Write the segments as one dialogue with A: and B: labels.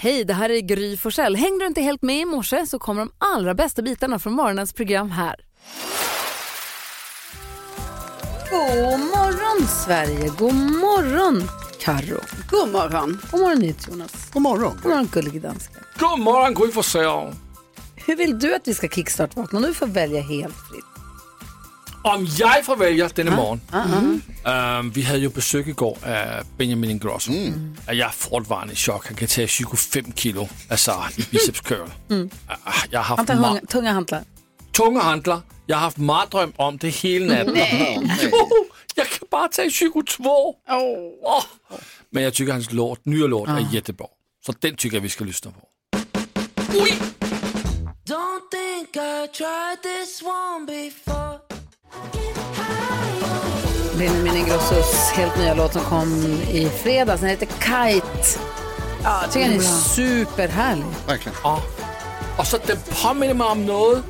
A: Hej, det här är Gry Forssell. Hängde du inte helt med i morse så kommer de allra bästa bitarna från morgonens program här. God morgon, Sverige. God morgon, Karro.
B: God morgon.
A: God morgon, Nyhets Jonas.
C: God morgon.
A: God morgon, gullige danska.
D: God morgon Gry Forssell!
A: Hur vill du att vi ska kickstart-vakna? Du får välja helt fritt.
D: Om jag får välja denna morgon.
A: Mm.
D: Ehm, vi hade ju besök igår av Benjamin Ingrosso. Mm. Att Jag är fortfarande i chock. Han kan ta 25 kilo alltså, i bicepscurl.
A: Mm.
D: Ah, ah, jag har
A: Han
D: haft
A: tar hunga,
D: ma-
A: tunga hantlar.
D: tunga handlar. Jag har haft mardröm om det hela natten. Jo, jag kan bara ta 22! Åh. Men jag tycker hans låt, nya låt är jättebra. Så den tycker jag vi ska lyssna på.
E: Don't think I tried this one before.
A: Benjamin Ingrossos helt nya låt som kom i fredags. Den heter Kite. Ja, jag tycker den är superhärlig.
C: Verkligen.
D: Och så den påminner mig om något,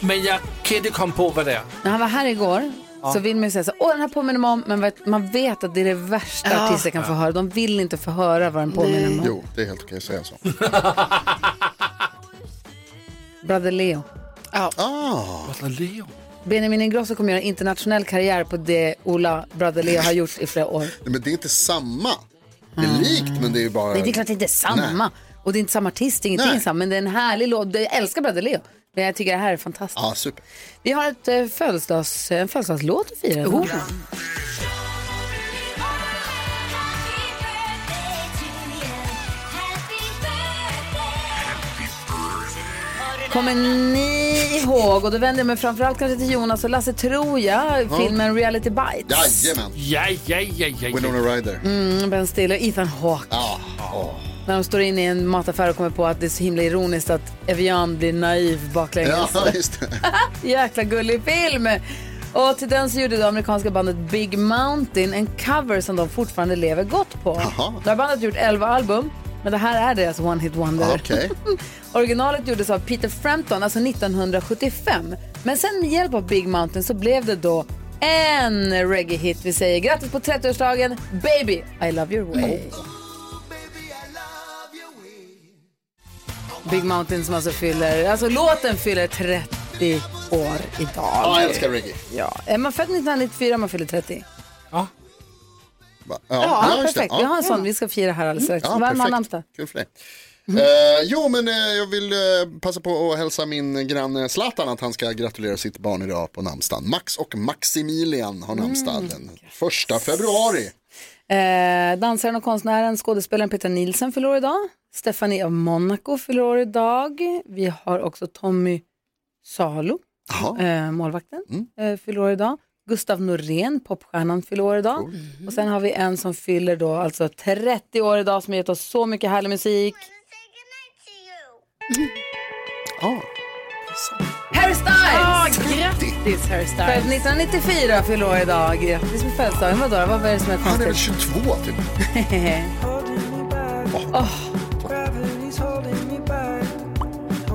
D: men jag kan inte komma på vad det är.
A: När han var här igår så vill man ju säga så här, åh den här påminner mig om, men vet- man vet att det är det värsta artister kan få höra. De vill inte få höra vad den påminner om.
C: Jo, det är helt okej att säga så.
A: Brother Leo.
C: Ah,
D: Vad är Leo?
A: Benjamin Ingrosso kommer göra internationell karriär på det Ola Brother Leo har gjort i flera år.
C: men det är inte samma. Det är likt, men det är ju bara...
A: Ah. Nej, det är klart att det inte är samma. Och det är inte samma artist, ingenting
C: Nej.
A: är samma. Men det är en härlig låt. Jag älskar Brother Leo. Men jag tycker det här är fantastiskt.
C: Ja, super.
A: Vi har ett, eh, födelsedags, en födelsedagslåt att fira. idag.
C: Oh.
A: Kommer ni ihåg, och då vänder jag mig framförallt kanske till Jonas och Lasse, tror jag, filmen Reality Bites.
C: Jajamän.
D: Ja, ja, ja, ja. ja.
C: Winona Ryder.
A: Mm, ben Stiller och Ethan Hawke.
C: Ah, ah.
A: När de står in i en mataffär och kommer på att det är så himla ironiskt att Evian blir naiv baklänges.
C: Ja, just det.
A: Jäkla gullig film! Och till den så gjorde det amerikanska bandet Big Mountain en cover som de fortfarande lever gott på.
C: Jaha.
A: Det här bandet har gjort 11 album, men det här är deras One Hit Wonder.
C: Okej.
A: Originalet gjordes av Peter Frampton, alltså 1975. Men sen med hjälp av Big Mountain så blev det då en reggae-hit. Vi säger grattis på 30-årsdagen, Baby, I love your way. Big Mountain som alltså fyller, alltså låten fyller 30 år idag.
C: Ja, jag älskar reggae.
A: Ja, är Eh, man född 1994 man fyller 30.
C: Va?
A: Ja,
C: just det.
A: perfekt. Vi har en sån vi ska fira här alldeles strax.
C: Ja,
A: Vem har
C: perfekt.
A: namnsdag?
C: Kul för dig. Eh, jo, men eh, jag vill eh, passa på att hälsa min granne Zlatan att han ska gratulera sitt barn idag på namnsdagen. Max och Maximilian
A: Mm.
C: har namnsdag den första februari.
A: Eh, dansaren och konstnären, skådespelaren Peter Nielsen fyller år idag. Stephanie av Monaco fyller år idag. Vi har också Tommy Salo,
C: Jaha,
A: eh, målvakten, eh, fyller år idag. Gustav Norén, popstjärnan, fyller år idag. Och sen har vi en som fyller då alltså 30 år idag som har gett oss så mycket härlig musik.
C: ah,
A: Harry Styles!
B: Grattis Harry
A: Född
B: Styles.
A: 1994 fyller år idag. Grattis på födelsedagen. Vadå, vad var det som är
C: han är väl
A: konstigt?
C: 22 typ.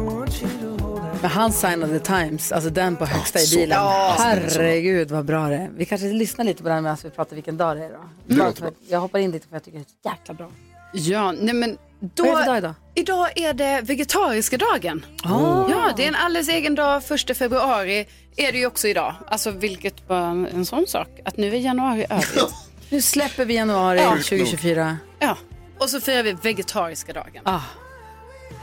A: Men han signade Times, alltså den på högsta i
C: så-
A: bilen.
C: ja, så-
A: Herregud vad bra det är. Vi kanske lyssnar lite på den medan vi pratar vilken dag det är
C: Det
A: idag.
C: låter
A: Bara för
C: bra.
A: att- Jag hoppar in lite för jag tycker det är så jäkla bra.
B: Ja, nej men då...
A: Vad är det för dag idag? Ah.
B: Idag är det vegetariska dagen. Ja, det är en alldeles egen dag. Första februari är det ju också idag. Alltså vilket var en sån sak. Att nu är januari över.
A: Nu släpper vi januari
B: Ja.
A: 2024.
B: ja. Och så firar vi vegetariska dagen.
A: Ah,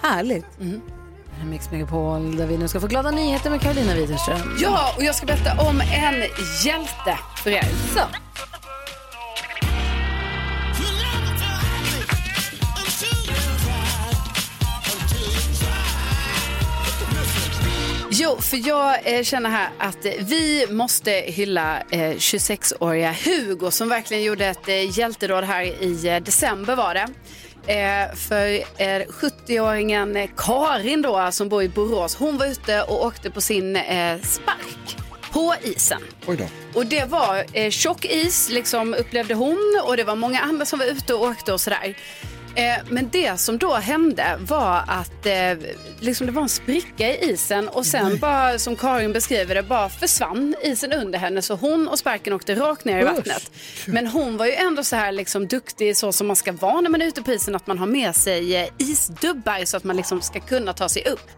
A: härligt.
C: Mhm.
A: Det här är Mix Megapol där vi nu ska få glada nyheter med Karolina Widerström.
B: Ja, och jag ska berätta om en hjälte för er.
A: Så.
B: Jo, för jag eh, känner här att eh, vi måste hylla eh, 26-åriga Hugo som verkligen gjorde ett eh, hjälteråd här i eh, december var det. Eh, för eh, 70-åringen eh, Karin då, som bor i Borås, hon var ute och åkte på sin eh, spark på isen.
C: Oj då.
B: Och det var eh, tjock is liksom upplevde hon och det var många andra som var ute och åkte och sådär. Eh, men det som då hände var att eh, liksom det var en spricka i isen och sen bara som Karin beskriver det bara försvann isen under henne så hon och sparken åkte rakt ner i vattnet. Men hon var ju ändå så här liksom duktig så som man ska vara när man är ute på isen att man har med sig eh, isdubbar så att man liksom ska kunna ta sig upp.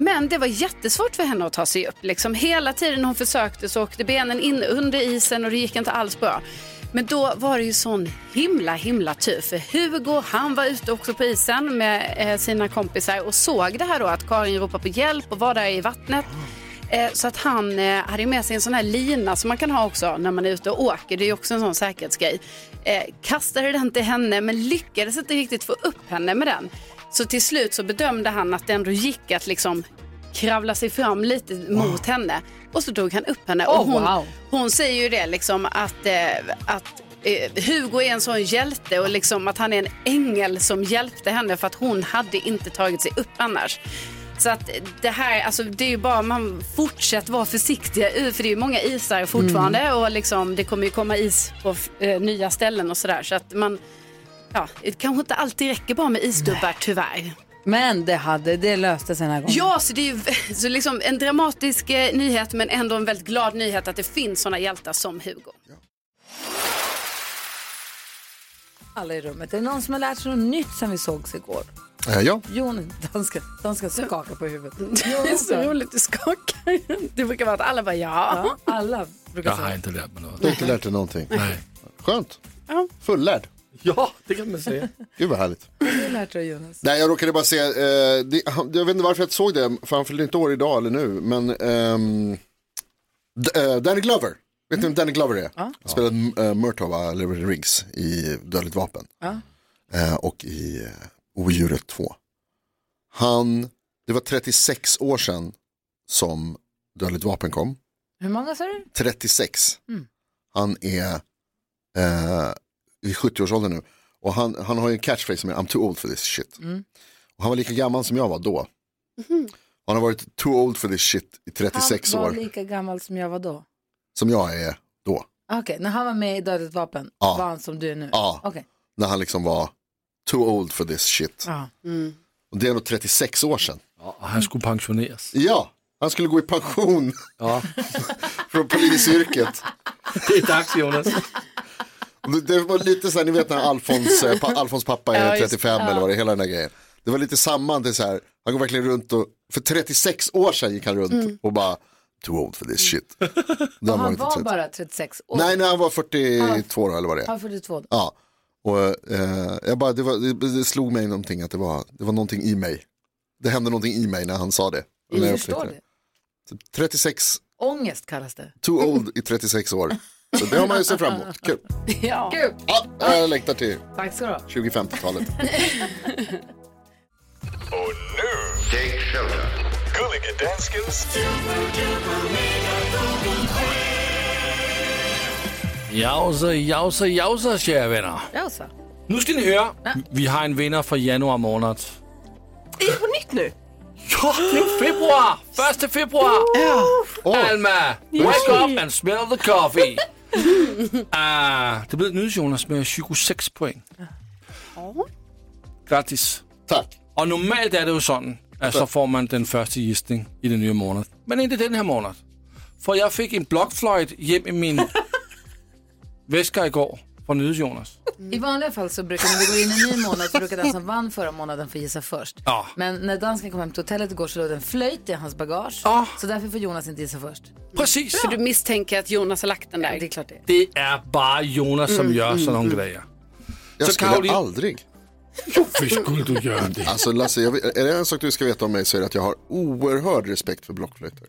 B: Men det var jättesvårt för henne att ta sig upp. Liksom hela tiden hon försökte så åkte benen in under isen och det gick inte alls bra. Men då var det ju sån himla, himla tur för Hugo han var ute också på isen med eh, sina kompisar och såg det här då att Karin ropade på hjälp och var där i vattnet. Eh, så att han eh, hade ju med sig en sån här lina som man kan ha också när man är ute och åker. Det är ju också en sån säkerhetsgrej. Eh, kastade den till henne men lyckades inte riktigt få upp henne med den. Så till slut så bedömde han att det ändå gick att liksom kravla sig fram lite mot henne. Och så drog han upp henne.
A: Åh,
B: och hon,
A: wow.
B: hon säger ju det liksom att, eh, att eh, Hugo är en sån hjälte och liksom att han är en ängel som hjälpte henne för att hon hade inte tagit sig upp annars. Så att det här, alltså det är ju bara man fortsätter vara försiktiga ur, för det är ju många isar fortfarande och liksom det kommer ju komma is på eh, nya ställen och sådär. Så att man, ja, det kanske inte alltid räcker bara med isdubbar tyvärr.
A: Mm. Men det, hade, det löste sig den här gången.
B: Ja, så det är ju så liksom en dramatisk eh, nyhet men ändå en väldigt glad nyhet att det finns sådana hjältar som Hugo.
A: Alla i rummet. Är det någon som har lärt sig något nytt sen vi sågs igår?
C: Eh, ja.
A: Jon, danska, danska skakar på huvudet.
B: Det är så roligt, du skakar. Det brukar vara att alla bara ja.
A: Ja, alla brukar
D: Jag har
A: säga.
D: inte lärt mig något.
C: Du har inte lärt dig någonting.
D: Nej.
C: Skönt.
B: Ja.
C: Fullärd.
D: Ja, det kan man säga.
C: Gud vad härligt.
A: Vad har du lärt dig Jonas?
C: Nej, jag råkade bara se, eh, det, jag vet inte varför jag inte såg det, för han fyllde inte år idag eller nu, men ehm, D- eh, Danny Glover, vet ni vem Danny Glover är? Han spelade uh, Murtova, eller Riggs, i Dödligt vapen. Eh, och i uh, Odjuret 2. Han, det var 36 år sedan som Dödligt vapen kom.
A: Hur många sa du? Mm.
C: 36. Han är eh, i 70-årsåldern nu. Och han, han har ju en catchphrase som är I'm too old for this shit.
A: Mm.
C: Och han var lika gammal som jag var då.
B: Mm.
C: Han har varit too old for this shit i 36
A: han var
C: år.
A: lika gammal som jag var då.
C: Som jag är då.
A: Okej, när han var med i Dödligt vapen
C: Ja.
A: var han som du är nu?
C: Ja.
A: Okej.
C: När han liksom var too old for this shit.
A: Ja.
B: Mm.
C: Och det är nog 36 år sedan.
D: Ja, och han skulle pensioneras.
C: Ja, han skulle gå i pension
D: Ja,
C: från polisyrket.
D: det är dags Jonas.
C: Och Det det var lite så här, ni vet när Alfons, eh, pa, Alfons pappa är
B: Ja, just-
C: 35 eller vad det är, hela den där grejen. Det var lite samma, det är så här, han går verkligen runt och, för 36 år sedan gick han runt och bara, too old for this shit. Då
A: Och han
C: inte
A: var
C: 30.
A: bara 36 år.
C: Nej, nej, han var 42 då, eller vad det
A: Han
C: är.
A: var 42 då.
C: Ja. Och eh, jag bara, det, var, det, det slog mig någonting att det var, det var någonting i mig. Det hände någonting i mig när han sa det. När
A: Jag
C: jag
A: förstår
C: upptäckte
A: det.
C: 36,
A: Ångest kallas det.
C: too old i 36 år. Så det har man ju sett fram emot. Kul.
B: ja.
A: Kul!
C: Ja, jag längtar till
A: Tack ska du ha.
C: 2050-talet.
F: Och nu, Take Shelter. Gulliga Danskens
D: Jausa, jausa, jausa, kära vänner.
A: Ja, så.
D: Nu ska ni höra. Vi har en vinnare från januari månad.
G: Är det på nytt nu?
D: Ja, det är februari! Första februari!
C: Åh,
D: Alma, wake up and smell the coffee! ah, det blev ett nytt Jonas med 26 poäng. Grattis!
C: tack.
D: Och normalt är det ju sådan, att så får man den första gissning i den nya månaden. Men inte den här månaden. För jag fick en blockflöjt hem i min väska igår från Nydes Jonas.
A: I vanliga fall så brukar när vi går in i en ny månad så brukar den som vann förra månaden få gissa först.
D: Ja.
A: Men när dansken kom hem till hotellet igår så låg det en flöjt i hans bagage.
D: Ja.
A: Så därför får Jonas inte gissa först.
D: Precis!
B: Du misstänker att Jonas har lagt den där?
A: Det är klart det.
D: Det är bara Jonas som gör sådana grejer.
C: Jag
D: Så
C: skulle
D: Caroline-
C: aldrig.
D: Visst skulle du göra det?
C: Alltså Lasse, jag, vet- är det en sak du ska veta om mig så är det att jag har oerhörd respekt för blockflöjter.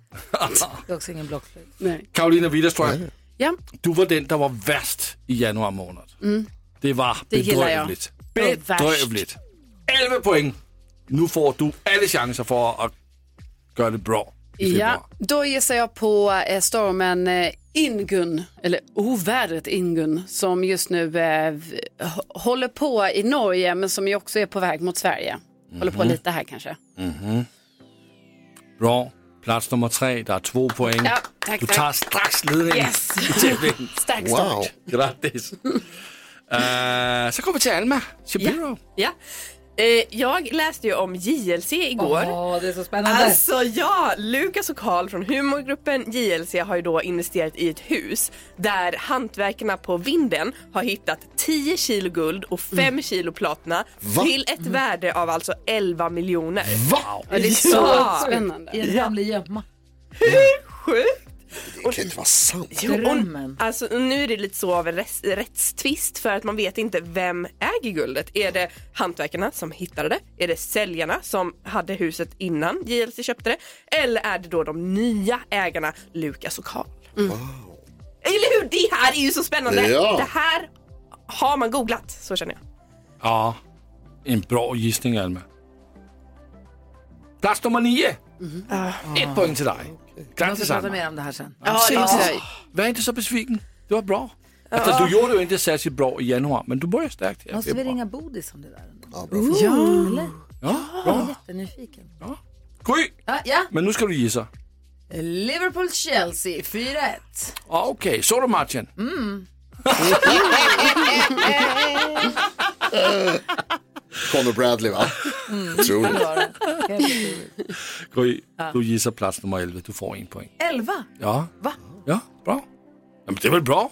A: Det är också ingen blockflöjt.
B: Nej.
D: Karolina Widerström,
B: Ja.
D: du var den, der var værst i januar måned. Det var
B: Det gælder jeg.
D: bedrøveligt.
B: Det var værst.
D: Bedrøveligt. 11 point. Nu får du alle chancer for at gøre det bra. i
B: ja,
D: februar.
B: då gissar jag på eh, stormen eh, Ingun, eller ovädret Ingun, som just nu eh, v- h- håller på i Norge men som ju också är på väg mot Sverige. Håller
D: Mhm.
B: på lite här kanske.
D: Bra. Plads nummer tre. Der er to point.
B: Ja, tak,
D: du
B: tak.
D: tager straks ledningen
B: Yes.
D: i tætningen.
B: Stark start.
C: Wow.
D: Grattis. Eh, så kommer vi till Alma Shapiro.
G: Ja. Eh, jag läste ju om JLC igår.
A: Åh, det är så spännande.
G: Alltså ja, Lukas och Karl från humorgruppen JLC har ju då investerat i ett hus där hantverkarna på vinden har hittat 10 kilo guld och 5
A: Mm.
G: kilo platina
C: Va?
G: till ett värde av alltså 11 miljoner.
C: Va?
B: Ja, det är så
G: Ja.
B: spännande.
A: I en gamlig gömma. Mm.
G: Sjukt!
C: Det kan inte vara sant.
G: Jo, och-
A: Drömmen.
G: Alltså, nu är det lite så av en rätts- rättstvist för att man vet inte vem äger guldet. Är det hantverkarna som hittade det? Är det säljarna som hade huset innan JLC köpte det? Eller är det då de nya ägarna Lukas och Karl? Eller hur? Det här är ju så spännande!
C: Ja.
G: Det här har man googlat, så känner jag.
D: Ja, en bra gissning Alma. Plats nummer nio. Ett poäng till dig.
A: Ah. Vi
D: Grattis
A: pratar
D: Alma.
A: mer om det här sen.
B: Ja, just det.
D: Var inte så besviken. Det var bra. Alltså, du gjorde ju inte särskilt bra i januari, men du började starkt. här.
A: Måste
D: Det
A: vi
D: är bra.
A: ringa Bodis om det där?
C: Ja, bra fråga.
A: Eller?
D: Ja,
A: Jag är
D: bra.
A: jättenyfiken.
D: Ah. Gry!
A: Ja, ja.
D: Men nu ska du gissa.
A: Liverpool-Chelsea 4-1.
D: Ja, Okej, såg du matchen?
A: Mm.
C: Conor Bradley va? Tror du?
D: Gry, du gissar plats nummer 11. Du får en poäng.
A: 11?
D: Ja,
A: Va?
D: ja bra. Ja, men det är väl bra?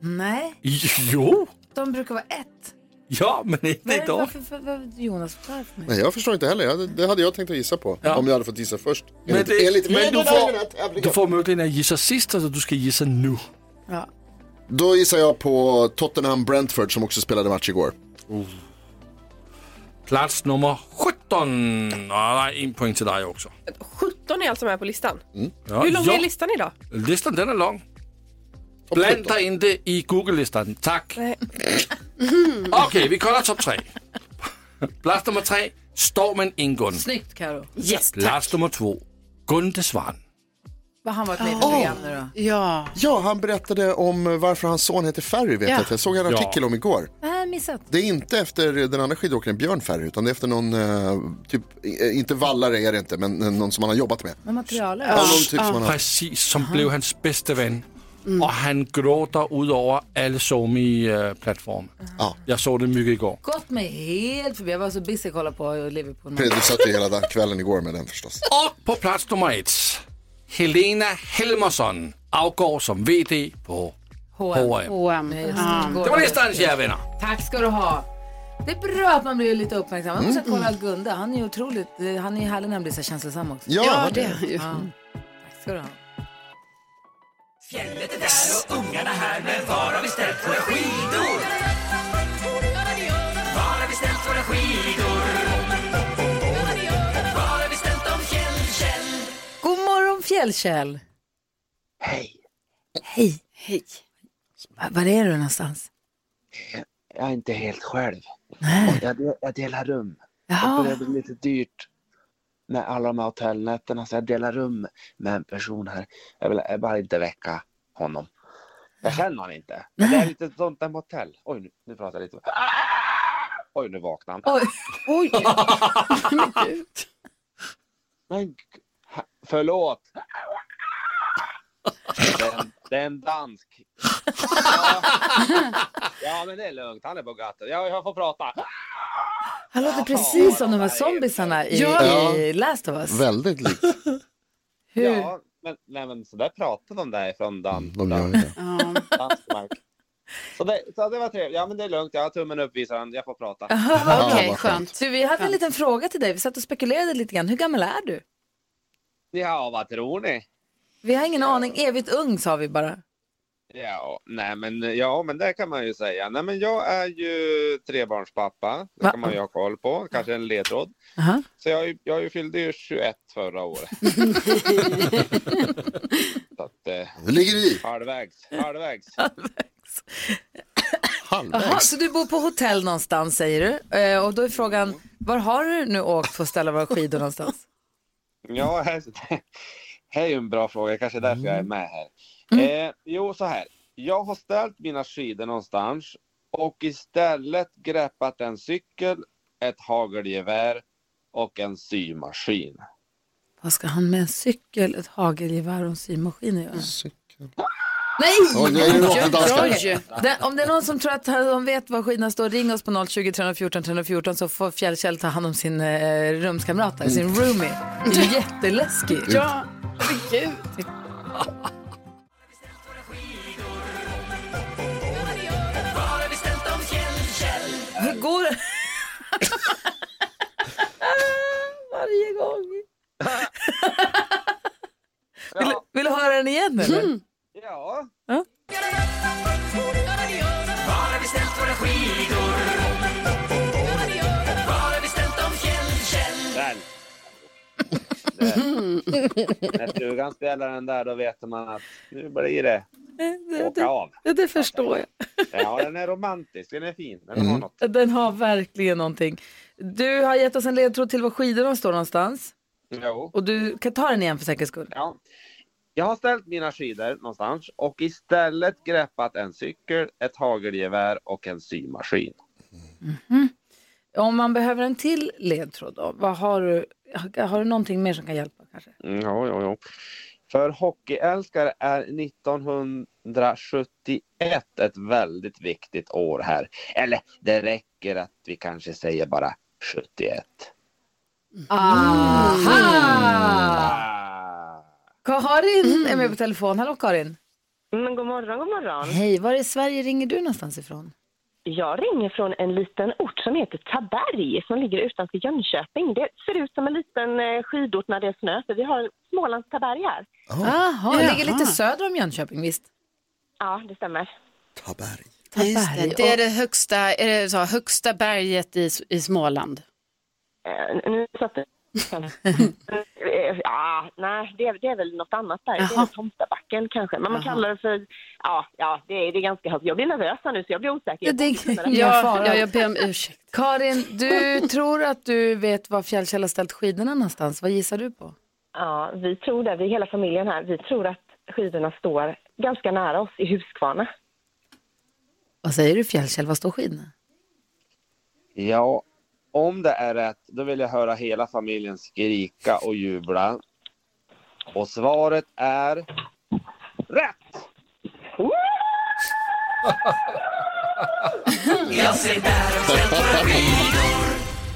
A: Nej,
D: Jo!
A: de brukar vara ett.
D: Ja, men inte
A: Var,
D: idag.
A: varför, var, var, Jonas förklarar för mig.
C: Nej, jag förstår inte heller. Jag- Det hade jag tänkt att gissa på. Om jag hade fått gissa först.
D: Men,
C: Enligt,
D: det,
C: enligt
D: men du,
C: reglerna i den här
D: får, du
C: tävlingen.
D: får möjligheten att gissa sist, alltså du ska gissa nu.
A: Ja.
C: Då gissar jag på Tottenham-Brentford som också spelade match igår.
D: Oh. Plats nummer 17. Ja, nej, en poäng till dig också.
G: 17 är alltså med på listan.
D: Ja,
G: Hur lång
D: ja.
G: är listan idag?
D: listan? Den är lång.
C: Topp 17.
D: Blanda inte i Google-listan, tack.
G: Nej.
D: Okej, vi kollar topp tre. Plats nummer tre, Stormen Ingun.
A: Snyggt Karo.
G: Yes, tack.
D: Plats nummer två, Gunde Svan.
A: Vad har han varit med i för program nu då?
B: Ja.
C: Ja, han berättade om varför hans son heter Ferry. Vet
B: Ja.
C: jag. jag såg en
D: Ja.
C: artikel om igår.
A: Nej, missat.
C: Det är inte efter den andra skidåkaren Björn Ferry utan det är efter någon, eh, typ, eh, inte vallare är det inte, men eh, någon som han har jobbat med.
A: Med materialet.
C: Ja, någon typ som han har.
D: Precis, som blev hans bästa vän.
G: Mm.
D: Och han gråter ut över alla Somi-plattformar.
C: Ja.
D: Jag såg det mycket igår.
A: Gått mig helt förbi. Jag var så busy att kolla på Liverpool.
C: Fredrik, Du satt ju hela den kvällen igår med den förstås.
D: Och på plats nummer ett, Helena Helmersson avgår som VD på H&M.
B: H&M. Ja.
D: Det var listan, kära vänner.
A: Tack ska du ha. Det är bra att man blir lite uppmärksam. Man
C: Mm.
A: måste kolla Gunde. Han är ju otroligt, eh, han är ju härlig när han blir så här känslosam också.
C: Ja,
B: Ja,
C: hörde
B: det
C: jag.
B: är ju.
A: Tack ska du ha. God morgon Fjällkäll. Hej. Hej.
B: Hej.
A: Va- Var är du någonstans?
H: Jag är inte helt själv.
A: Nej.
H: Jag, del, jag delar rum. Och Det
A: Jaha.
H: blir lite dyrt med alla de här hotellnätterna så jag delar rum med en person här. Jag vill jag bara inte väcka honom. Jag känner honom inte. Men det är lite sånt där motell. Oj, nu, nu pratar jag lite. Oj, nu vaknar han.
A: Oj.
B: Oj.
H: Men g- ha- förlåt. Det är, en, det är en dansk. Ja. ja, men det är lugnt. Han är på gatan. Jag, jag får prata.
A: Han låter precis som de här zombisarna i,
C: Ja.
A: i Last of Us.
C: Väldigt likt.
A: Hur?
H: Ja, men, nej, men så där pratar de därifrån Dan.
C: Mm, De gör det.
B: Ja.
H: Dansmark. Så det, så det var trevligt. Ja men det är lugnt, jag har tummen upp visar han. Jag får prata.
A: Jaha,
B: Okej,
C: vad skönt.
B: skönt.
A: Du, vi hade en liten fråga till dig. Vi satt och spekulerade lite grann. Hur gammal är du?
H: Ja vad tror ni?
A: Vi har ingen aning. Evigt ung sa vi bara.
H: Ja, nej men ja men det kan man ju säga. Nej men jag är ju trebarnspappa. Det
A: Va?
H: kan man ju ha koll på. Kanske en ledtråd.
A: Aha.
H: Så jag, är ju- jag fyllde ju 21 förra året. så att eh,
C: Det ligger i.
H: halvvägs, halvvägs.
A: Jaha,
C: Halvvägs.
A: så du bor på hotell någonstans säger du. Eh, och då är frågan, var har du nu åkt för att ställa våra skidor någonstans?
H: Ja, här, det här är ju en bra fråga. Kanske därför jag är med här. Eh, jo, så här. Jag har ställt mina skidor någonstans och istället greppat en cykel, ett hagelgevär och en symaskin.
A: Vad ska han med en cykel, ett hagelgevär och en symaskin att göra?
C: Cykel. Oj, nu är det rockdanskare.
B: Roger.
A: Den, om det är någon som tror att de vet var skidorna står, ring oss på 020 314 314 så får Fjällkäll ta hand om sin eh, rumskamrat, där, sin roomie. Det är jätteläskigt.
B: Ja, herregud.
A: Hur går det? Varje gång. vill, vill du höra den igen eller?
H: Ja. Där. Där. När stugan ställer den där då vet man att nu blir det åka av.
A: Ja, det förstår jag.
H: Ja, den är romantisk, den är fin, den har något.
A: Den har verkligen någonting. Du har gett oss en ledtråd till var skidorna står någonstans.
H: Jo.
A: Och du kan ta den igen för säkerhets skull.
H: Ja. Jag har ställt mina skidor någonstans och istället greppat en cykel, ett hagelgevär och en symaskin.
B: Mm.
A: Om man behöver en till ledtråd då, vad har du? Har du någonting mer som kan hjälpa kanske?
H: Mm, Ja, ja, ja. För hockeyälskare är 1971 ett väldigt viktigt år här. Eller det räcker att vi kanske säger bara 71.
A: Aha!
H: Ah.
A: Karin är med på telefon. Hallå Karin.
I: Men Mm, god morgon, god morgon.
A: Hej, var i Sverige ringer du någonstans ifrån?
I: Jag ringer från en liten ort som heter Taberg som ligger utanför Jönköping. Det ser ut som en liten eh, skidort när det är snö, för vi har Smålands Taberg här.
A: Jaha, det ligger
B: Jaha.
A: lite söder om Jönköping visst?
I: Ja, det stämmer.
C: Taberg.
B: Just det. det är det högsta, är det så, högsta berget i, i Småland.
I: Eh, Nu satte... Eh, ja, nej, det är, det är väl något annat där. Det är
B: Jaha.
I: väl Tomtabacken kanske. Men man
B: Jaha.
I: kallar det för... Ja, ja det, är, det är ganska högt. Jag blir nervös här nu, så jag blir osäker.
A: Ja, det är ingen
B: ja,
A: fara.
B: jag ber om ursäkt.
A: Karin, du tror att du vet var Fjällkäll har ställt skidorna någonstans. Vad gissar du på?
I: Ja, vi tror det. Vi, hela familjen här, vi tror att skidorna står ganska nära oss i Huskvarna.
A: Vad säger du Fjällkäll, var står skidorna?
H: Ja, om det är rätt, då vill jag höra hela familjen skrika och jubla. Och svaret är rätt!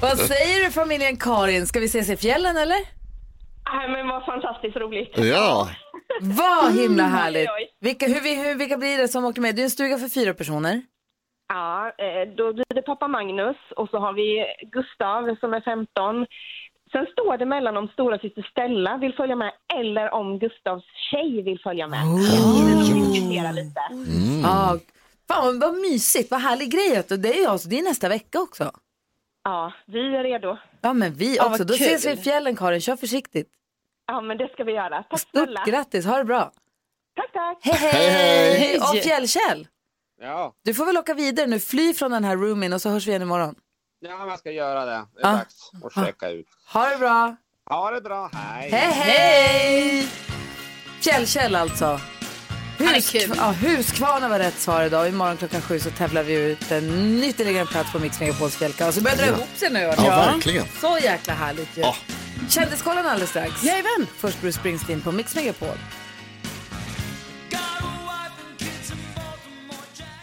A: Vad säger du familjen Karin? Ska vi ses i fjällen eller?
I: Nej, men vad fantastiskt roligt.
C: Ja,
A: Vad himla härligt.
I: oj.
A: Vilka, hur, vi- hur, vilka blir det som åker med? Det är en stuga för fyra personer.
I: Ja, eh, då blir det pappa Magnus och så har vi Gustav som är 15. Sen står det mellan om stora syster Stella vill följa med eller om Gustavs tjej vill följa med. Så vi diskuterar lite.
A: Ja, fan vad mysigt, vad härlig grej. att- Det är, ju alltså, det är nästa vecka också.
I: Ja, vi är redo.
A: Ja men vi
B: Ja,
A: också.
B: vad
A: Då
B: kul.
A: ses vi i fjällen Karin, kör försiktigt.
I: Ja, men det ska vi göra. Tack
A: Stort
I: snälla.
A: grattis, ha det bra.
I: Tack, tack.
A: Hej hej!
C: Hej,
A: Och Fjällkäll,
H: Ja,
A: du får väl åka vidare nu, fly från den här roomin och så hörs vi igen imorgon.
H: ja jag ska göra det. Det är
A: Ah.
H: dags att checka ut.
A: Ha det bra!
H: Ha det bra, hej!
A: Hej hej! Fjällkäll alltså.
B: är
A: Husk,
B: kul.
A: ja, Huskvarna var rätt svar idag. Imorgon klockan sju så tävlar vi ut en ytterligare en plats på Mix Megapols fjällkalas. Så börjar det dra ihop sig nu.
C: ja,
A: Ja.
C: verkligen.
A: Så jäkla härligt ju.
C: Ja.
A: Kändiskollen alldeles strax.
B: Jajamän.
A: Först Bruce Springsteen på Mix Megapol.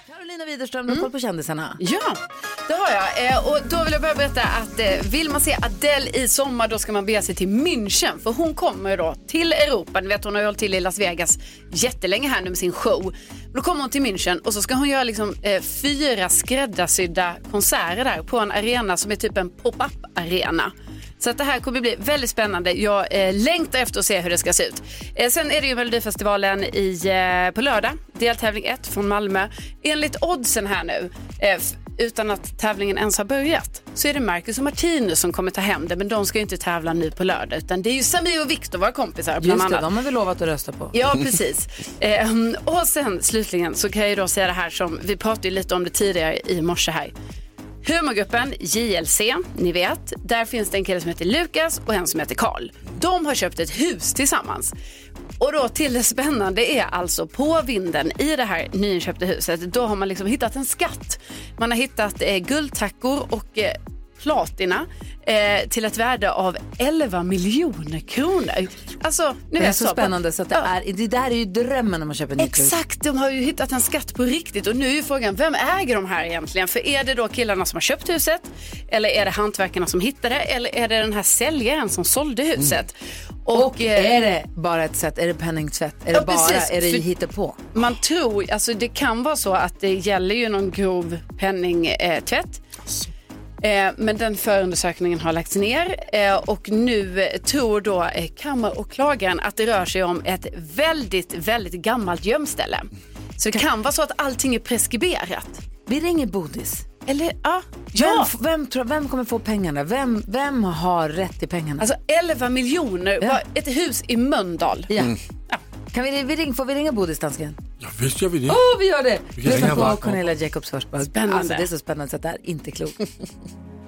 A: Carolina Widerström, du har koll på kändisarna.
B: Ja, det har jag. Eh, och då vill jag börja berätta att eh, vill man se Adele i sommar då ska man bege sig till München. För hon kommer ju då till Europa. Ni vet hon har ju hållit till i Las Vegas jättelänge här nu med sin show. Då kommer hon till München och så ska hon göra liksom, eh, fyra skräddarsydda konserter där på en arena som är typ en pop-up arena. Så att det här kommer bli väldigt spännande. Jag eh, längtar efter att se hur det ska se ut. Eh, sen är det ju Melodifestivalen i, eh, på lördag, deltävling 1 från Malmö. Enligt oddsen här nu, eh, f- utan att tävlingen ens har börjat, så är det Marcus och Martinus som kommer ta hem det. Men de ska ju inte tävla nu på lördag, utan det är ju Samir och Viktor, våra kompisar, bland
A: Just det,
B: annat.
A: de har vi lovat att rösta på.
B: Ja, precis. Ehm, och sen slutligen så kan jag ju då säga det här som, vi pratade ju lite om det tidigare i morse här. Humorgruppen JLC, ni vet, där finns det en kille som heter Lukas och en som heter Karl. De har köpt ett hus tillsammans. Och då till det spännande är alltså på vinden i det här nyinköpta huset, då har man liksom hittat en skatt. Man har hittat eh, guldtackor och eh, platina eh, till ett värde av 11 miljoner kronor. Alltså, ni
A: Det är
B: vet,
A: så
B: på-
A: spännande så att det,
B: Ja.
A: är, det där är ju drömmen när man köper nytt hus.
B: Exakt, de har ju hittat en skatt på riktigt och nu är ju frågan, vem äger de här egentligen? För är det då killarna som har köpt huset eller är det hantverkarna som hittar det eller är det den här säljaren som sålde huset?
A: Mm. Och
B: eh,
A: är det bara ett sätt? Är det penningtvätt? Är det
B: Ja,
A: bara,
B: precis.
A: är det
B: För-
A: hittepå?
B: Man tror, alltså det kan vara så att det gäller ju någon grov penningtvätt. Eh, Men den förundersökningen har lagts ner eh, och nu eh, tror då eh, kammaråklagaren att det rör sig om ett väldigt, väldigt gammalt gömställe. Så det kan vara så att allting är preskriberat.
A: Vi ringer Bodis.
B: Eller ja,
A: Vem,
B: ja.
A: f- vem, tror, vem kommer få pengarna? Vem, vem har rätt till pengarna?
B: Alltså 11 miljoner,
A: Ja.
B: var ett hus i Mölndal.
A: ja.
D: Mm.
A: Kan vi, vi ring, får vi ringa Bodis, dansken?
D: Ja, visst gör vi det.
A: Åh, vi gör det!
D: kan
A: Oh. Lyssna
D: ringa
A: på
D: varje-
A: Cornelia Jacobs först. bara.
B: Spännande.
A: Alltså, det är så spännande så att det är inte klokt.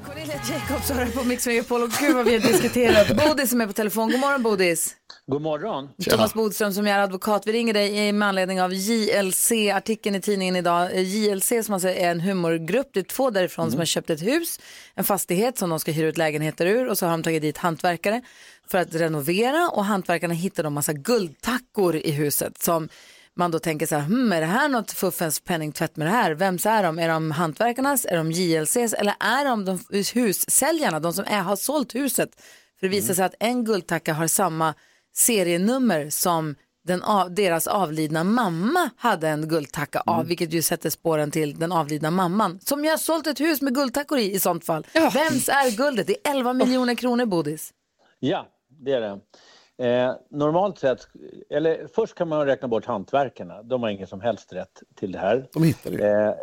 A: Cornelia Jacobs har det på Mix Megapol och gud vad vi har diskuterat. Bodis som är på telefon. God morgon Bodis.
J: God morgon.
A: Thomas Bodström som är advokat. Vi ringer dig eh, med anledning av JLC-artikeln i tidningen idag. Eh, JLC som alltså är en humorgrupp, det är två därifrån som har köpt ett hus, en fastighet som de ska hyra ut lägenheter ur och så har de tagit dit hantverkare för att renovera och hantverkarna hittar en massa guldtackor i huset som man då tänker så här, hmm, är det här något fuffens penningtvätt med det här? Vems är de? Är de hantverkarnas? Är de JLCs? Eller är de, de hussäljarna, de som är, har sålt huset? För det visar sig att en guldtacka har samma serienummer som den av, deras avlidna mamma hade en guldtacka av, vilket ju sätter spåren till den avlidna mamman, som ju har sålt ett hus med guldtackor i i sånt fall.
B: Ja.
A: Vems är guldet? Det är 11 miljoner kronor, Bodis.
J: Ja, det är det. Eh, normalt sett, eller först kan man räkna bort hantverkarna. De har ingen som helst rätt till det här.
C: De hittar det.
J: Eh,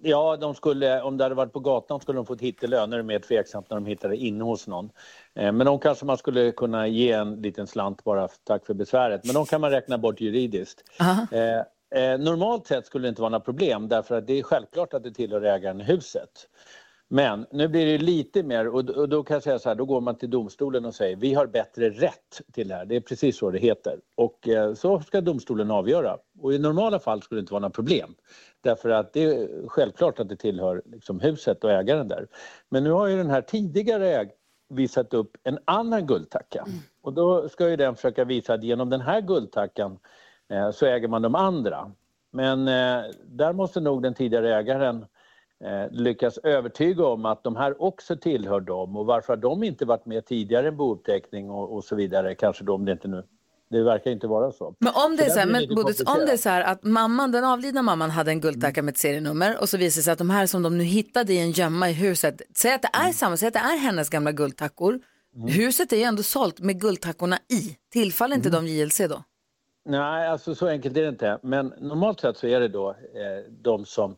J: ja, de skulle, om det hade varit på gatan skulle de fått hittelöner, mer tveksamt när de hittade inne hos någon. Eh, men de kanske man skulle kunna ge en liten slant bara, för- tack för besväret. Men de kan man räkna bort juridiskt. Eh, eh, normalt sett skulle det inte vara några problem, därför att det är självklart att det tillhör ägaren i huset. Men nu blir det lite mer, och, och då kan jag säga så här, då går man till domstolen och säger vi har bättre rätt till det här. Det är precis så det heter. Och eh, så ska domstolen avgöra. Och i normala fall skulle det inte vara några problem. Därför att det är självklart att det tillhör liksom, huset och ägaren där. Men nu har ju den här tidigare äg- visat upp en annan guldtacka.
A: Mm.
J: Och då ska ju den försöka visa att genom den här guldtackan eh, så äger man de andra. Men eh, där måste nog den tidigare ägaren eh, lyckas övertyga om att de här också tillhör dem och varför har de inte varit med tidigare i en bouppteckning och, och så vidare, kanske då om det inte nu... Det verkar inte vara så.
A: Men om det är
J: Så
A: så här,
J: där blir det
A: men,
J: lite
A: Bodis, om det är
J: komplicerat.
A: så här att mamman, den avlidna mamman hade en guldtacka med ett serienummer och så visar det sig att de här som de nu hittade i en gömma i huset, säg att det är samma, säg att det är hennes gamla guldtackor. Huset är ju ändå sålt med guldtackorna i. Tillfaller inte de JLC då?
J: Nej, alltså så enkelt är det inte. Men normalt sett så är det då eh, de som,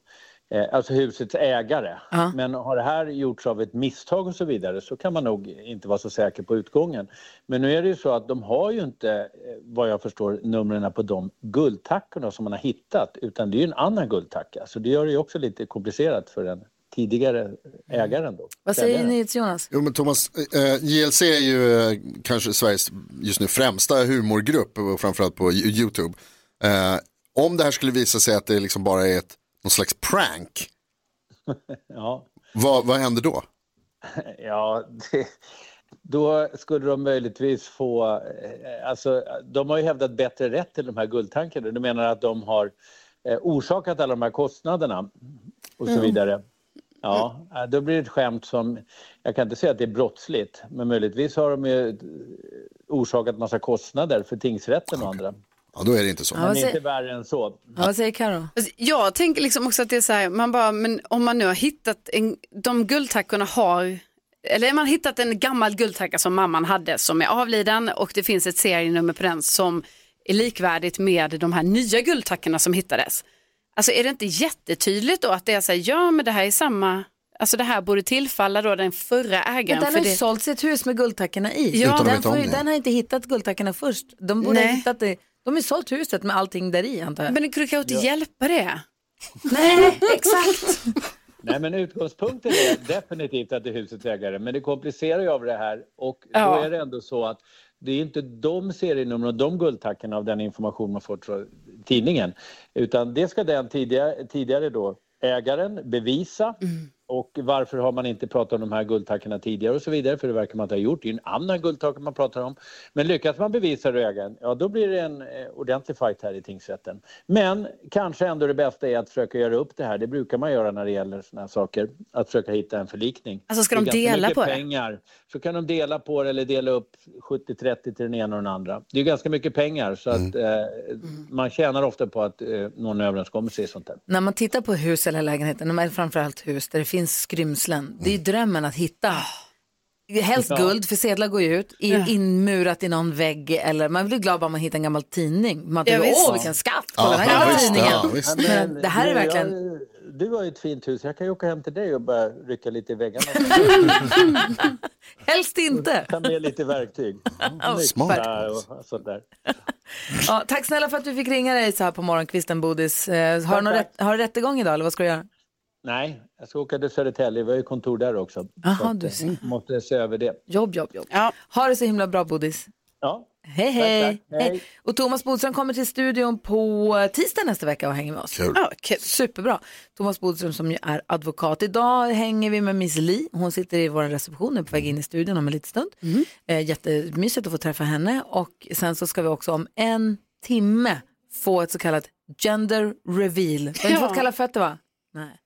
J: eh, alltså husets ägare.
A: Ja.
J: Men har det här gjorts av ett misstag och så vidare så kan man nog inte vara så säker på utgången. Men nu är det ju så att de har ju inte, eh, vad jag förstår, numren på de guldtackorna som man har hittat, utan det är ju en annan guldtacka. Så det gör det ju också lite komplicerat för den tidigare ägaren då.
A: Mm. Vad säger
J: Säljaren.
A: ni, Jonas?
C: Jo men Thomas, eh, JLC är ju eh, kanske Sveriges just nu främsta humorgrupp, och framförallt på Yo- YouTube. Eh, om det här skulle visa sig att det liksom bara är ett, någon slags prank,
J: Ja.
C: vad, vad händer då?
J: Ja, det, då skulle de möjligtvis få... eh, Alltså, de har ju hävdat bättre rätt till de här guldtankarna. Du menar att de har eh, orsakat alla de här kostnaderna och
C: Mm.
J: så vidare. Ja, eh, då blir det ett skämt som... Jag kan inte säga att det är brottsligt, men möjligtvis har de ju eh, orsakat massa kostnader för tingsrätten och andra.
C: Ja då är det inte så.
A: Ja, vad,
J: Men inte
A: säger,
J: värre än så.
A: ja, vad säger Karo?
B: Alltså, Jag tänker liksom också att det är så här, man bara, men om man nu har hittat en, de guldtackorna har, eller man har hittat en gammal guldtacka som mamman hade som är avliden och det finns ett serienummer på den som är likvärdigt med de här nya guldtackorna som hittades. Alltså är det inte jättetydligt då att det är så här, ja men det här är samma, alltså det här borde tillfalla då den förra ägaren.
A: Men den
B: för
A: har ju
B: det...
A: sålt sitt hus med guldtackorna i.
B: Ja. Utan att
A: den,
C: veta
A: får
C: om
A: ju-
C: det.
A: den har inte hittat guldtackorna först. De borde ha
B: Nej.
A: hittat det. De har ju sålt huset med allting där i antar jag.
B: Men det kunde kanske inte hjälpa det.
A: nej, exakt.
J: Nej, men utgångspunkten är definitivt att det är husets ägare, men det komplicerar ju av det här och
B: Ja.
J: då är det ändå så att det är inte de serienumren och de guldtackorna av den information man fått från
B: Mm.
J: tidningen, utan det ska den tidigare, tidigare då ägaren bevisa och varför har man inte pratat om de här guldtackorna tidigare och så vidare, för det verkar man inte ha gjort. Det är ju en annan guldtacka man pratar om. Men lyckas man bevisa rögen, ja då blir det en eh, ordentlig fight här i tingsrätten. Men kanske ändå det bästa är att försöka göra upp det här. Det brukar man göra när det gäller såna här saker, att försöka hitta en förlikning.
B: Alltså, ska
J: Det
B: de
J: är ganska
B: dela
J: mycket
B: på det?
J: pengar. Så kan de dela på det eller dela upp 70-30 till den ena och den andra. Det är ju ganska mycket pengar så att eh, man tjänar ofta på att eh, nå en överenskommelse i sånt där.
A: När man tittar på hus eller lägenheter, men framförallt hus där det finns skrymslen, det är ju drömmen att hitta. Helst
B: Mm. Ja.
A: guld, för sedlar går ju ut, i-
B: Ja.
A: inmurat i någon vägg eller man blir glad bara man hittar en gammal tidning. Man
B: Ja,
A: tycker,
B: visst.
A: åh vilken skatt,
B: Ja,
A: kolla den här gamla
B: visst,
A: tidningen.
B: ja, visst.
A: men, det här är
J: nu,
A: verkligen...
J: Jag, du har ju ett fint hus, jag kan ju åka hem till dig och börja rycka lite i väggarna.
A: Helst inte.
J: Ta med lite verktyg.
A: Smart.
J: Nycklar Och sånt där.
A: Ja, tack snälla för att vi fick ringa dig så här på morgonkvisten, Bodis. Eh, Har du, någon rätt, har du rättegång idag eller vad ska du göra?
J: Nej, jag ska åka till Södertälje, vi har ju kontor där också.
A: Jaha,
J: Så att,
A: du
J: eh,
A: ser.
J: Måste se över det.
A: Jobb, jobb, jobb. Ha det så himla bra, Bodis.
J: Ja.
A: Hej,
J: Tack,
A: hej.
J: tack. Hej.
A: Och Thomas Bodström kommer till studion på eh, tisdag nästa vecka och hänger med oss.
B: Kul. Ja, kul.
A: Superbra. Thomas Bodström som ju är advokat. Idag hänger vi med Miss Li. Hon sitter i vår reception nu på väg in i studion om en liten stund. Eh, jättemysigt att få träffa henne. Och sen så ska vi också om en timme få ett så kallat gender reveal. Du har inte
B: Ja.
A: fått kalla fötter va? Nej.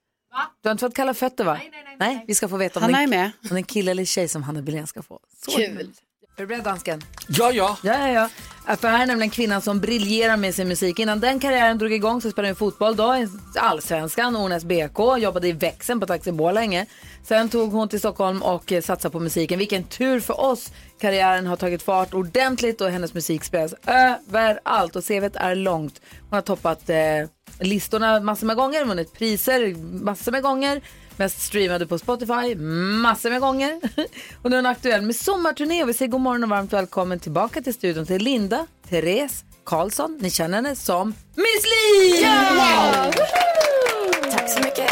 A: Du har inte fått kalla fötter va? Nej, nej, nej. nej. vi ska få veta om
B: Hanna
A: det-
B: är med.
A: om det är en kille eller tjej som Hanna Billén ska få. Så
B: Kul.
A: Är du beredd dansken?
D: Ja, ja.
A: Ja, ja, ja. För här är nämligen kvinnan som briljerar med sin musik. Innan den karriären drog igång så spelade hon fotboll då i Allsvenskan, Ornäs BK, jobbade i växeln på Taxi länge. Sen tog hon till Stockholm och eh, satsade på musiken. Vilken tur för oss! Karriären har tagit fart ordentligt och hennes musik spelas överallt och CVt är långt. Hon har toppat eh, listorna massor med gånger, vunnit priser massor med gånger. Mest streamade på Spotify massor med gånger. Och nu är hon aktuell med sommarturné och vi säger god morgon och varmt välkommen tillbaka till studion till Linda, Therese, Karlsson. Ni känner henne som Miss Li!
K: Tack så mycket.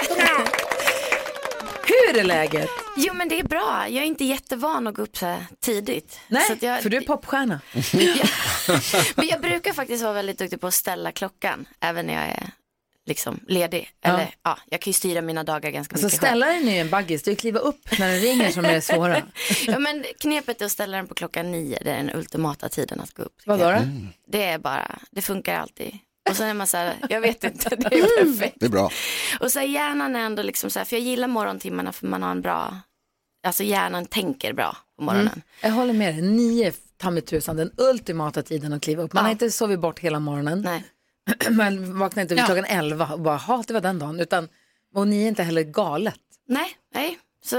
A: Hur är läget?
K: Jo men det är bra. Jag är inte jättevan att gå upp så här tidigt.
A: Nej,
K: så att jag,
A: för du är popstjärna.
K: Men jag brukar faktiskt vara väldigt duktig på att ställa klockan. Även när jag är liksom ledig. Eller ja, jag kan ju styra mina dagar ganska
A: Alltså
K: mycket själv.
A: ställa den är ju en baggis, det är att kliva upp när den ringer som är det svåra.
K: ja, men knepet är att ställa den på klockan nio. Det är den ultimata tiden att gå upp.
A: Vadå då?
K: Det är bara, det funkar alltid. Och sen är man så här, jag vet inte, det är
A: Mm.
K: perfekt.
C: Det är bra.
K: Och så här, hjärnan är ändå liksom så här, för jag gillar morgontimmarna för man har en bra, alltså hjärnan tänker bra på morgonen.
A: Mm. Jag håller med dig, nio ta mig tusan den ultimata tiden att kliva upp. Man har inte sovit bort hela morgonen.
K: Nej.
A: Man vaknar inte vid
K: Ja.
A: klockan elva och bara, ha det var den dagen. Utan, och ni är inte heller galet.
K: Nej, nej, så,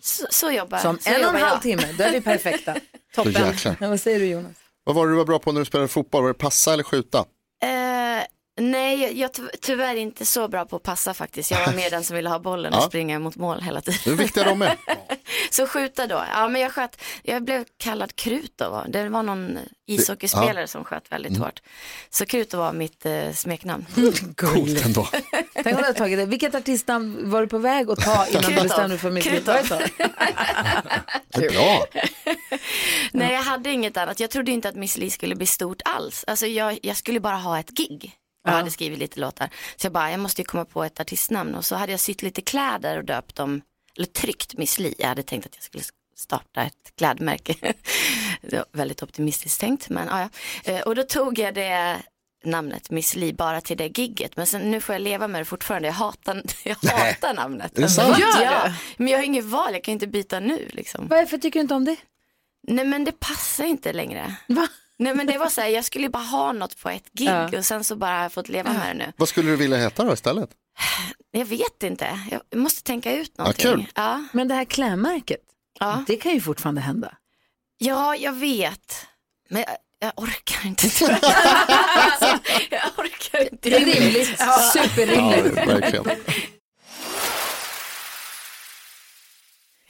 K: så, så jobbar
A: Som
K: så
A: en och en
K: jobbar jag.
A: halv timme, då är vi perfekta. Toppen.
C: Så jäklar.
A: Ja, vad säger du Jonas?
C: Vad var det du var bra på när du spelade fotboll? Var det passa eller skjuta?
K: Eh, nej, jag- jag är tyvärr inte så bra på att passa faktiskt. Jag var mer den som ville ha bollen och
C: Ja.
K: springa mot mål hela tiden.
C: Hur viktiga de är.
K: så skjuta då. Ja, men jag sköt, jag blev kallad krut då. va? Det var någon ishockeyspelare
C: ja.
K: som sköt väldigt
C: Mm.
K: hårt. Så krut var mitt eh, smeknamn.
C: Coolt ändå.
A: Tänk om du hade tagit det. Vilket artistnamn var du på väg att ta innan du
K: Krutov.
A: bestämde dig för mitt liv?
K: Krutov.
A: Vad är det så?
C: Bra.
K: Nej, jag hade inget annat. Jag trodde inte att Miss Li skulle bli stort alls. Alltså, jag, jag skulle bara ha ett gig. Jag hade skrivit lite låtar. Så jag bara, jag måste ju komma på ett artistnamn. Och så hade jag sytt lite kläder och döpt dem, eller tryckt Miss Li. Jag hade tänkt att jag skulle starta ett klädmärke. det var väldigt optimistiskt tänkt, men ja, ja. Eh, Och då tog jag det namnet Miss Li bara till det gigget. Men sen, nu får jag leva med det fortfarande. Jag hatar, jag hatar namnet.
C: Är det sant?
K: Ja,
C: Gör
K: ja. Men jag har inget val, jag kan ju inte byta nu liksom.
A: Varför tycker du inte om det?
K: Nej men det passar inte längre.
A: Va?
K: Nej men det var så här, jag skulle ju bara ha något på ett gig
C: Ja.
K: och sen så bara har jag fått leva med det nu.
C: Vad skulle du vilja heta då istället?
K: Jag vet inte, jag måste tänka ut
C: Ja,
K: någonting.
C: kul.
K: Ja.
A: Men det här klädmärket,
K: ja.
A: det kan ju fortfarande hända.
K: ja, jag vet. Men äh, jag, jag orkar inte. alltså, jag orkar inte.
A: Det är rimligt. Superrimligt.
C: Ja, verkligen.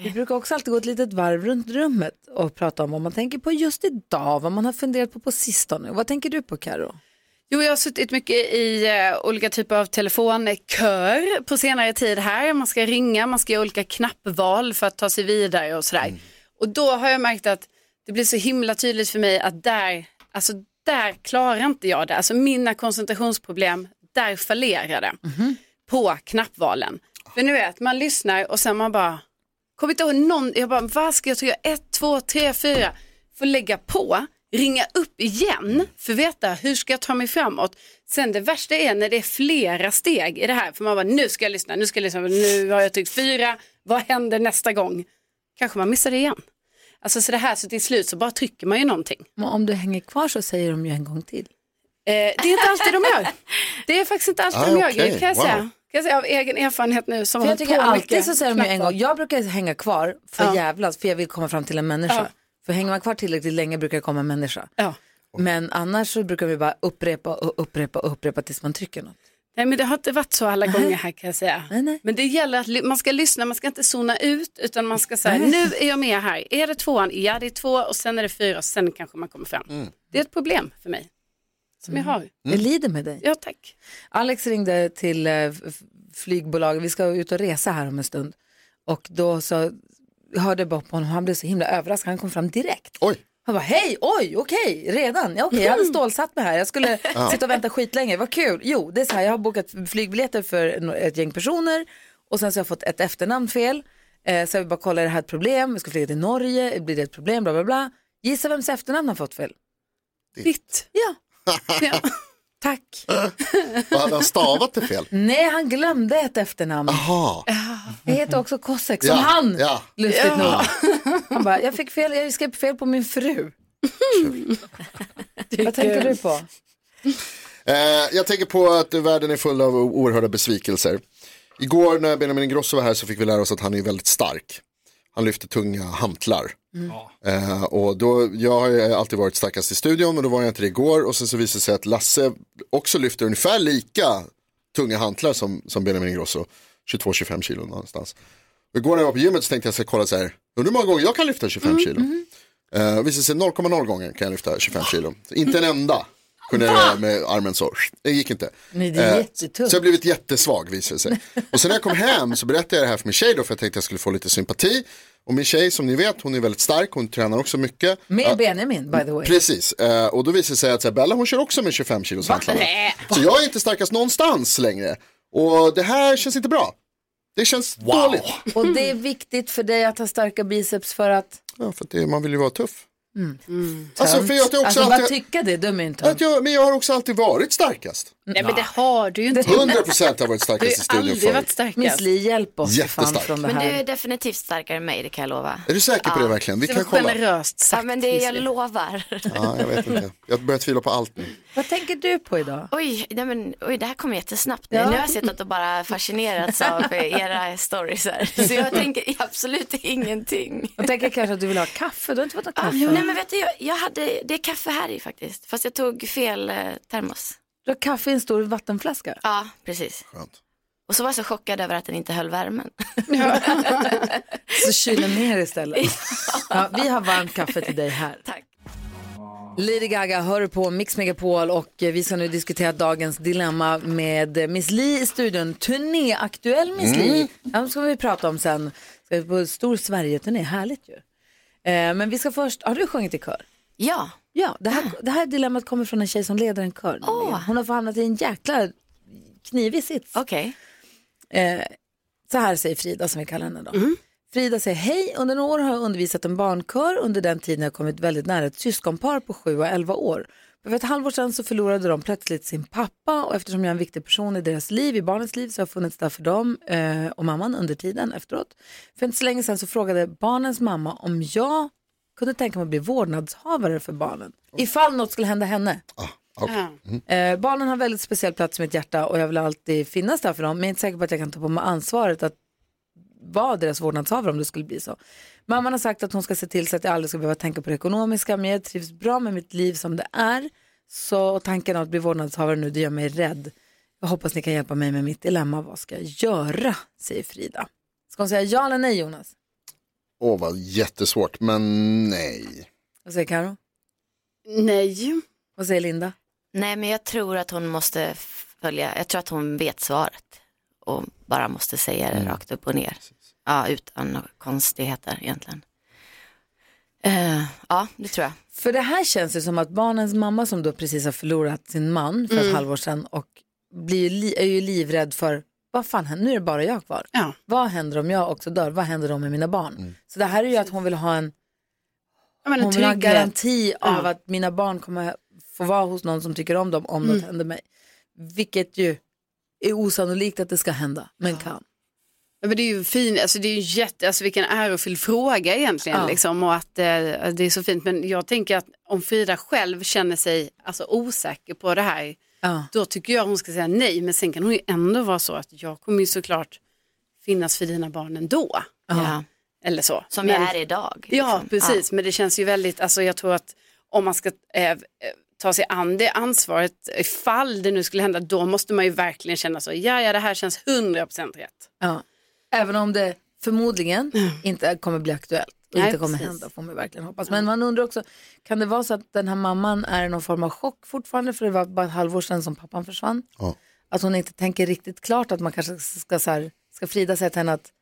A: Vi brukar också alltid gå ett litet varv runt rummet och prata om vad man tänker på just idag, vad man har funderat på på sistone. Vad tänker du på Karo?
B: Jo, jag har suttit mycket i eh, olika typer av telefonkör på senare tid här. Man ska ringa, man ska göra olika knappval för att ta sig vidare och sådär. Och då har jag märkt att det blir så himla tydligt för mig att där, alltså där klarar inte jag det. Alltså mina koncentrationsproblem, där fallerar det på knappvalen. För nu vet, man lyssnar och sen man bara, kommer inte ihåg någon, jag bara, vad ska jag trycka? Ett, två, tre, fyra. Får lägga på, ringa upp igen för att veta hur ska jag ta mig framåt. Sen det värsta är när det är flera steg i det här, för man bara, nu ska jag lyssna, nu ska jag lyssna, nu har jag tryckt fyra, vad händer nästa gång? Kanske man missar det igen. Alltså så det här, så till slut så bara trycker man ju någonting.
A: Men om du hänger kvar så säger de ju en gång till.
B: Eh, det är inte alltid de gör. Det är faktiskt inte alltid
A: Ah,
B: de gör,
A: okej.
B: kan jag
A: Wow.
B: säga. Kan jag säga av egen erfarenhet nu som
A: För
B: har
A: jag
B: hållit
A: tycker
B: på
A: alltid
B: mycket.
A: så säger de ju en gång, jag brukar hänga kvar för
B: Ja.
A: jävlas, för jag vill komma fram till en människa.
B: Ja.
A: För hänger man kvar tillräckligt länge brukar det komma en människa. Men annars så brukar vi bara upprepa och upprepa och upprepa tills man trycker något.
B: Nej men det har inte varit så alla gånger här kan jag säga. Men det gäller att ly- man ska lyssna, man ska inte zona ut utan man ska säga
A: Nej.
B: nu är jag med här. Är det tvåan? Ja det är två och sen är det fyra och sen kanske man kommer fram. Det är ett problem för mig som jag har.
A: Det lider med dig.
B: Ja tack.
A: Mm. Alex ringde till eh, f- flygbolaget, vi ska ut och resa här om en stund. Och då så hörde jag bara på honom, han blev så himla överraskad, han kom fram direkt.
C: Oj.
A: Han bara, hej, oj, okej, redan, ja, okej, jag hade stålsatt mig här, jag skulle
L: Ja.
A: sitta och vänta skitlänge, vad kul. Jo, det är så här, jag har bokat flygbiljetter för no- ett gäng personer och sen så har jag fått ett efternamn fel. Eh, så jag vill bara kolla, är det här ett problem? Vi ska flyga till Norge, blir det ett problem? Bla, bla, bla. Gissa vems efternamn har fått fel?
B: Ditt.
A: Ja.
B: ja.
A: Tack.
C: Vad hade han stavat det fel?
A: Nej, han glömde ett efternamn.
C: Jaha.
A: Jag heter också Kosek, som han.
C: Ja.
A: Lustigt nog. Han bara, jag fick fel, jag skrev fel på min fru. Vad tänker du på?
C: Eh, jag tänker på att världen är full av o- oerhörda besvikelser. Igår när Benjamin Ingrosso var här så fick vi lära oss att han är väldigt stark. Han lyfter tunga hantlar.
G: Mm.
C: Eh, och då, jag har ju alltid varit starkast i studion och då var jag inte det igår och sen så visade det sig att Lasse också lyfter ungefär lika tunga hantlar som, som Benjamin Ingrosso. 22-25 kilo någonstans. Igår när jag var på gymmet så tänkte jag ska kolla så här, undrar hur många gånger jag kan lyfta 25
A: Mm,
C: kilo. Eh, visade sig 0,0 gånger kan jag lyfta 25 kilo. Så inte en enda kunde jag göra med armen så. Det gick inte.
A: Nej, det är
C: Eh,
A: jättetungt.
C: Så jag har blivit jättesvag visade det sig. Och sen när jag kom hem så berättade jag det här för min tjej då för jag tänkte jag skulle få lite sympati. Och min tjej som ni vet hon är väldigt stark, hon tränar också mycket.
A: Med
C: Ja,
A: Benjamin, by the way.
C: Precis, Eh, och då visade det sig att så här, Bella hon kör också med 25 kilos hantlarna.
A: Nej.
C: Så jag är inte starkast någonstans längre. Och det här känns inte bra. Det känns dåligt.
A: Och det är viktigt för dig att ha starka biceps för att...
C: Ja, för att det, man vill ju vara tuff.
A: Mm.
C: Alltså, för jag har också
A: alltså,
C: alltid-
A: bara tycka det, dum är inte.
C: Att jag, men jag har också alltid varit starkast.
B: Nej men det har du ju inte.
C: 100 procent har jag varit
B: Du har
C: starkast
B: ju
C: i studion
B: aldrig
C: förut.
B: varit starkast.
A: Miss Li, hjälp oss för fan
C: Jättestark.
A: från det
K: Men du
A: här.
K: är definitivt starkare än mig, det kan jag lova.
C: Är du säker på det verkligen? Vi kan kolla.
B: generöst
K: sagt. Ja, men det, jag lovar.
C: Ja, jag vet inte. Jag börjar tvivla på allt nu.
A: Vad tänker du på idag?
K: Oj, nej men, oj, det här kommer jättesnabbt. nu.
A: Ja.
K: Nu har jag suttit och bara fascinerats av era stories här. Så jag tänker absolut ingenting.
A: Jag tänker kanske att du vill ha kaffe, du har inte fått något
K: Ah,
A: kaffe.
K: nej men vet du, jag, jag hade, det är kaffe här i faktiskt. Fast jag tog fel eh, termos.
A: Du har kaffe i en stor vattenflaska.
K: Ja, precis.
C: Skönt.
K: Och så var jag så chockad över att den inte höll värmen.
A: Så kylen ner istället. Ja, vi har varmt kaffe till dig här.
K: Tack.
A: Lady Gaga hör du på Mix Megapol och eh, vi ska nu diskutera dagens dilemma med eh, Miss Li i studion. Turnéaktuell Miss
L: Mm.
A: Li. De ska vi prata om sen. Ska vi på stor Sverige-turné, härligt ju. Eh, Men vi ska först, har du sjungit i kör?
K: Ja.
A: Ja, det här, det här dilemmat kommer från en tjej som leder en kör. nämligen. Hon har fått hamnat i en jäkla knivig sits.
K: Okej.
A: Eh, så här säger Frida som vi kallar henne då. Frida säger hej, under några år har jag undervisat en barnkör. Under den tiden har jag kommit väldigt nära ett syskonpar på 7 och 11 år. Men För ett halvår sedan så förlorade de plötsligt sin pappa och eftersom jag är en viktig person i deras liv, i barnens liv, så har jag funnits där för dem eh, och mamman under tiden efteråt. För inte så länge sedan så frågade barnens mamma om jag kunde tänka mig att bli vårdnadshavare för barnen. Ifall något skulle hända henne. Eh, barnen har en väldigt speciell plats i mitt hjärta och jag vill alltid finnas där för dem. Men jag är inte säker på att jag kan ta på mig ansvaret att vara deras vårdnadshavare om det skulle bli så. Mamman har sagt att hon ska se till så att jag aldrig ska behöva tänka på det ekonomiska. Men jag trivs bra med mitt liv som det är. Så tanken att bli vårdnadshavare nu, det gör mig rädd. Jag hoppas ni kan hjälpa mig med mitt dilemma. Vad ska jag göra? Säger Frida. Ska hon säga ja eller nej Jonas?
C: Åh, vad jättesvårt, men nej.
A: Vad säger Karo?
B: Nej.
A: Vad säger Linda?
K: Nej men jag tror att hon måste följa, jag tror att hon vet svaret. Och bara måste säga det rakt upp och ner. Ja, utan några konstigheter egentligen. Eh, ja, det tror jag.
A: För det här känns ju som att barnens mamma som då precis har förlorat sin man för ett
K: Mm.
A: halvår sedan och blir ju li- är ju livrädd för vad fan händer, nu är det bara jag kvar. Vad händer om jag också dör? Vad händer då med mina barn?
K: Mm.
A: Så det här är ju att hon vill ha en,
B: men en
A: hon vill ha en
B: trygghet.
A: garanti
B: Ja.
A: av att mina barn kommer få vara hos någon som tycker om dem om
B: Mm.
A: något händer mig. Vilket ju är osannolikt att det ska hända, men kan.
B: Ja, men det är ju fin, alltså det är ju jätte, alltså vilken ärofylld fråga egentligen
A: Ja.
B: liksom och att eh, det är så fint men jag tänker att om Frida själv känner sig alltså, osäker på det här då tycker jag hon ska säga nej men sen kan hon ju ändå vara så att jag kommer ju såklart finnas för dina barn ändå.
K: Ja.
B: Eller så.
K: Som
B: Men-
K: jag är idag.
B: Ja,
K: liksom.
B: precis. Men det känns ju väldigt, alltså jag tror att om man ska eh, eh, ta sig an det ansvaret, ifall det nu skulle hända, då måste man ju verkligen känna så, ja, ja, det här känns 100% rätt.
A: Ja. Även om det förmodligen
C: Mm.
A: inte kommer bli aktuellt och
B: Nej,
A: inte kommer
B: precis.
A: hända får man verkligen hoppas. Men man undrar också, kan det vara så att den här mamman är i någon form av chock fortfarande för det var bara ett halvår sedan som pappan försvann?
C: Ja.
A: Att hon inte tänker riktigt klart att man kanske ska, så här, ska Frida säga till henne att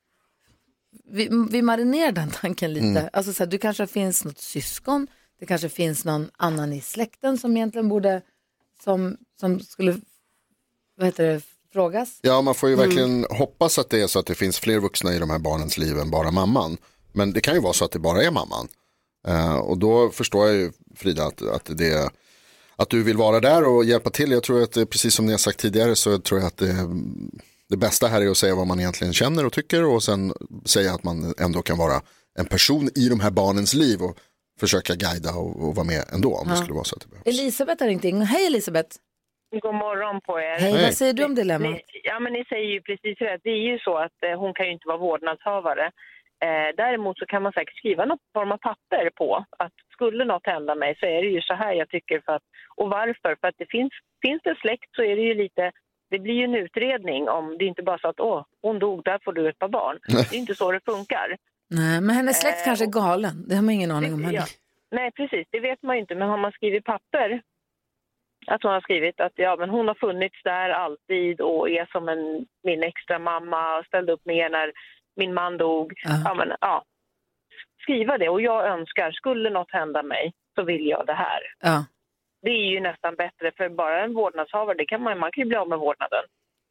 A: vi, vi marinerar den tanken lite.
L: Mm.
A: Alltså så här, du kanske finns något syskon, det kanske finns någon annan i släkten som egentligen borde, som, som skulle, vad heter det, frågas.
C: Ja, man får ju
A: Mm.
C: verkligen hoppas att det är så att det finns fler vuxna i de här barnens liv än bara mamman. Men det kan ju vara så att det bara är mamman. Eh, och då förstår jag ju Frida att, att, det, att du vill vara där och hjälpa till. Jag tror att eh, precis som ni har sagt tidigare så tror jag att det, det bästa här är att säga vad man egentligen känner och tycker och sen säga att man ändå kan vara en person i de här barnens liv och försöka guida och, och vara med ändå om det
A: Ja.
C: skulle vara så att det behövs.
A: Elisabeth har ringt in. Hej Elisabeth!
L: God morgon på er.
A: Hej, vad säger du om dilemmat?
L: Ni, ja, men ni säger ju precis rätt. Det är ju så att eh, hon kan ju inte vara vårdnadshavare. Eh, däremot så kan man säkert skriva något form av papper på att skulle något hända mig så är det ju så här jag tycker för att, och varför. För att det finns, finns det släkt så är det ju lite, det blir ju en utredning om det är inte bara så att åh, hon dog, där får du ett par barn.
A: Nej.
L: Det är inte så det funkar.
A: Nej, men hennes släkt
L: Eh,
A: kanske är galen. Det har man ingen aning om heller.
L: Ja. Nej, precis. Det vet man ju inte. Men har man skrivit papper att hon har skrivit att ja, men hon har funnits där alltid och är som en, min extra mamma och ställde upp med er när min man dog. Ja, men, ja. Skriva det. Och jag önskar, skulle något hända mig så vill jag det här.
A: Ja.
L: Det är ju nästan bättre, för bara en vårdnadshavare, det kan man, man kan ju bli av med vårdnaden.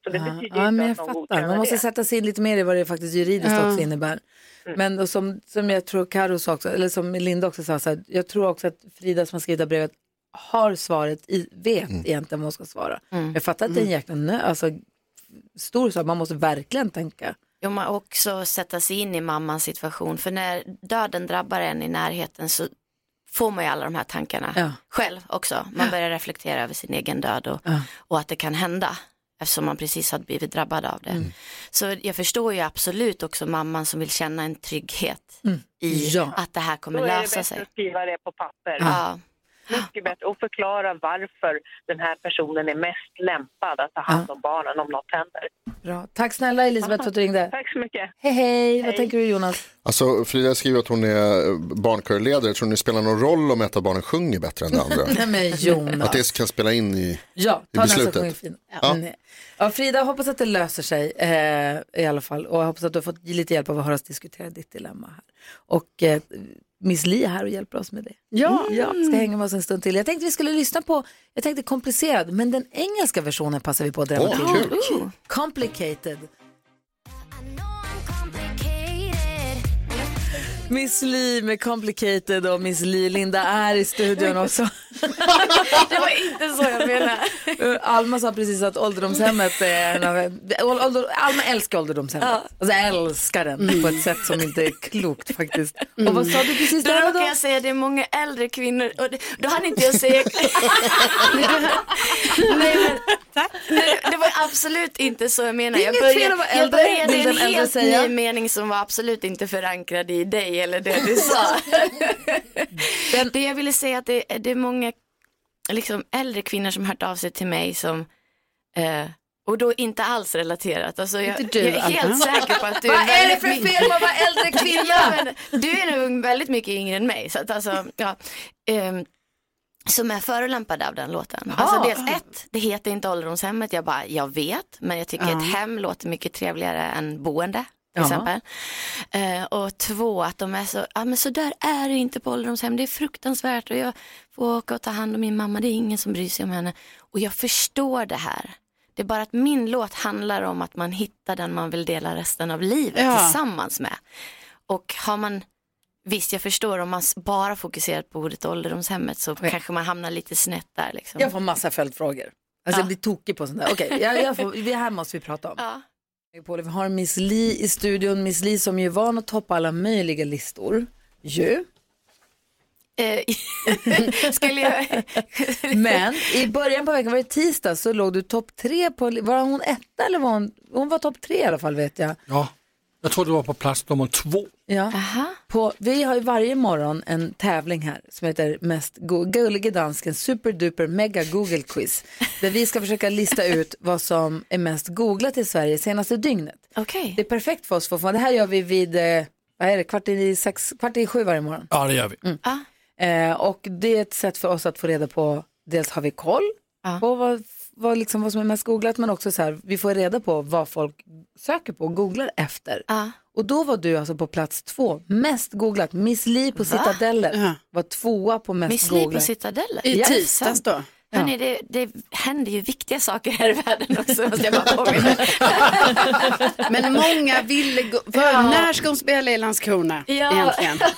L: Så det betyder ju
A: Ja,
L: inte
A: men jag
L: att någon
A: fattar.
L: godkänner
A: Man måste
L: det. Mm.
A: sätta sig in lite mer i vad det faktiskt juridiskt
L: Ja.
A: också innebär. Men och som, som jag tror Karo sa också, eller som Linda också sa, så här, jag tror också att Frida som har skrivit det här brevet har svaret, i, vet egentligen vad hon ska svara.
K: Mm.
A: Jag fattar att det är en jäkla nö, alltså, stor sak, man måste verkligen tänka.
K: Jo, man också sätta sig in i mammans situation. För när döden drabbar en i närheten så får man ju alla de här tankarna
A: Ja.
K: själv också. Man börjar reflektera över sin egen död och, och att det kan hända. Eftersom man precis har blivit drabbad av det. Så jag förstår ju absolut också mamman som vill känna en trygghet
A: Mm.
K: i
A: Ja.
K: att det här
L: Då
K: kommer
L: är det
K: lösa
L: bättre
K: sig.
L: att skriva det på papper.
K: Ja.
L: Mycket bättre. Och förklara varför den här personen är mest lämpad att ta hand om barnen om något händer.
A: Bra. Tack snälla Elisabeth för att du ringde.
L: Tack så mycket.
A: Hej, hej, vad tänker du Jonas?
C: Alltså Frida skriver att hon är barnkörledare. Tror ni det spelar någon roll om ett av barnen sjunger bättre än det andra?
A: Nej men Jonas.
C: Att det kan spela in i,
A: Ja,
C: i
A: ta den som
C: beslutet?
A: sjunger fin. Ja.
C: Ja.
A: nej. Ja, Frida, jag hoppas att det löser sig eh, i alla fall. Och jag hoppas att du har fått lite hjälp av att höra oss diskutera ditt dilemma här. Och eh, Miss Li är här och hjälper oss med det.
B: Ja.
A: ja, ska hänga med oss en stund till. Jag tänkte vi skulle lyssna på, jag tänkte komplicerad, men den engelska versionen passar vi på att drämma
K: Åh,
A: till.
K: kul.
A: Ooh. Complicated. Miss Li med Complicated och Miss Li Linda är i studion också.
K: det var inte så jag menade.
A: Eh, Alma sa precis att ålderdomshemmet är en av... ål- ålder- Alma älskar ålderdomshemmet.
K: Ja.
A: Alltså jag älskar den på ett sätt som inte är klokt faktiskt.
K: Mm.
A: Och vad sa du precis
K: Då
A: där
K: råkade
A: då?
K: jag säga det är många äldre kvinnor och det, då hann inte jag säga. Nej, men, Nej, det var absolut inte så jag menade.
A: Det är
K: Jag
A: inget fel att
K: började,
A: vara
K: jag började
A: äldre,
K: en
A: vill den äldre
K: helt
A: säga.
K: ny mening som var absolut inte förankrad i dig eller det du sa. Det jag ville säga att det, det är många liksom, äldre kvinnor som hört av sig till mig som eh, och då inte alls relaterat. Alltså jag,
A: Inte du,
K: jag är helt
A: Anna.
K: säker på att du
A: Vad är det
K: väldigt
A: för
K: mycket-
A: fel på att vara äldre kvinna?
K: Ja, men du är nog väldigt mycket yngre än mig. Så att alltså, ja, ehm, som är förolämpad av den låten.
A: Jaha.
K: Alltså dels ett, det heter inte ålderdomshemmet. Jag bara, jag vet, men jag tycker
A: Ja.
K: ett hem låter mycket trevligare än boende. Till
A: Ja.
K: exempel. Eh, och två, att de är så, ja men så där är det inte på ålderdomshem, det är fruktansvärt och jag får åka och ta hand om min mamma, det är ingen som bryr sig om henne. Och jag förstår det här. Det är bara att min låt handlar om att man hittar den man vill dela resten av livet
B: Ja.
K: tillsammans med. Och har man, visst jag förstår om man s- bara fokuserar på ordet ålderdomshemmet så kanske man hamnar lite snett där liksom.
A: Jag får massa följdfrågor. Alltså jag blir tokig på sånt där. Okej, jag, jag får, det här måste vi prata om.
K: Ja.
A: Megapol. Vi har Miss Li i studion. Miss Li som ju är van att toppa alla möjliga listor. Ju.
K: Eh, Skulle jag...
A: Men i början på veckan, var det tisdag, så låg du topp tre på... Var hon etta eller var hon... Hon var topp tre i alla fall vet jag.
D: Ja, jag tror det var på plats nummer två.
A: Ja. På, vi har ju varje morgon en tävling här som heter Mest gu- gullige dansken superduper mega Google quiz. Där vi ska försöka lista ut vad som är mest googlat i Sverige senaste dygnet.
K: Okay.
A: Det är perfekt för oss för att få, det här gör vi vid eh, vad är det, kvart, i sex, kvart i sju varje morgon.
D: Ja, det gör
A: Mm.
D: vi.
K: Mm.
A: Eh, och det är ett sätt för oss att få reda på, dels har vi koll
K: Ah.
A: på vad, vad, liksom, vad som är mest googlat, men också så här, vi får reda på vad folk söker på och googlar efter.
K: Ah.
A: Och då var du alltså på plats två, mest googlat. Miss Li på Citadellet var tvåa på mest
K: Miss Li
A: googlat.
K: på Citadellet?
A: Ja, sant. Ja.
K: Hörrni, det, det händer ju viktiga saker här i världen också, måste jag bara påminna.
B: Men många ville gå, för,
K: Ja.
B: när ska hon spela i Landskrona
K: Ja.
B: egentligen?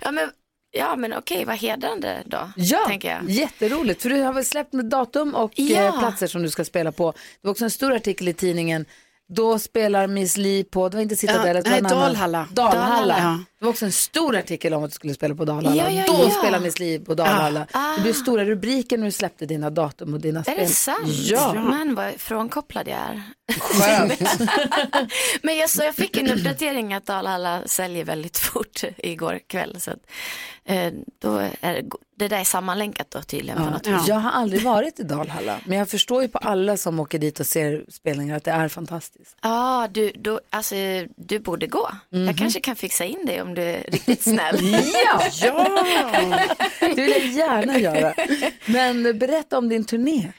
K: ja, men, ja, men okej, vad hedrande då,
A: Ja,
K: tänker jag.
A: jätteroligt. För du har väl släppt med datum och eh,
K: Ja.
A: platser som du ska spela på. Det var också en stor artikel i tidningen. Då spelar Miss Li på, det var inte Citadellet,
B: Ja,
A: det var
B: nej,
A: en annan-
B: Dalhalla.
A: Dalhalla.
B: Dalhalla, ja.
A: Det var också en stor artikel om att du skulle spela på Dalhalla.
K: Ja, ja,
A: Då
K: ja.
A: spelar Miss Li på Dalhalla. Det blev stora rubriker när du släppte dina datum och dina
K: Är
A: spel.
K: det sant?
A: Ja.
K: Men vad frånkopplad jag är. men jag, så jag fick en uppdatering att Dalhalla säljer väldigt fort igår kväll. Så att, eh, då är det, det där är sammanlänkat då tydligen på något
A: Ja.
K: vis.
A: Jag har aldrig varit i Dalhalla, men jag förstår ju på alla som åker dit och ser spelningar att det är fantastiskt.
K: Ja, du, då, alltså, du borde gå. Jag kanske kan fixa in dig om du är riktigt snäll.
A: Ja! Det vill jag gärna göra. Men berätta om din turné.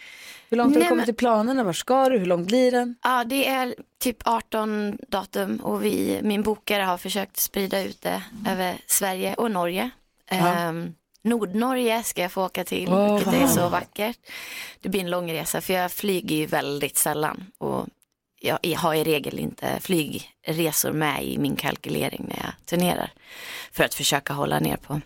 A: Hur långt har
K: Nej,
A: du kommit
K: men-
A: i planerna? Var ska du? Hur lång blir den?
K: Ja, det är typ 18 datum och vi, min bokare har försökt sprida ut det över Sverige och Norge.
A: Ja.
K: Ehm, Nordnorge ska jag få åka till,
A: Åh,
K: vilket
A: vad
K: är så
A: härligt.
K: vackert. Det blir en lång resa för jag flyger ju väldigt sällan och jag har i regel inte flygresor med i min kalkylering när jag turnerar för att försöka hålla ner på.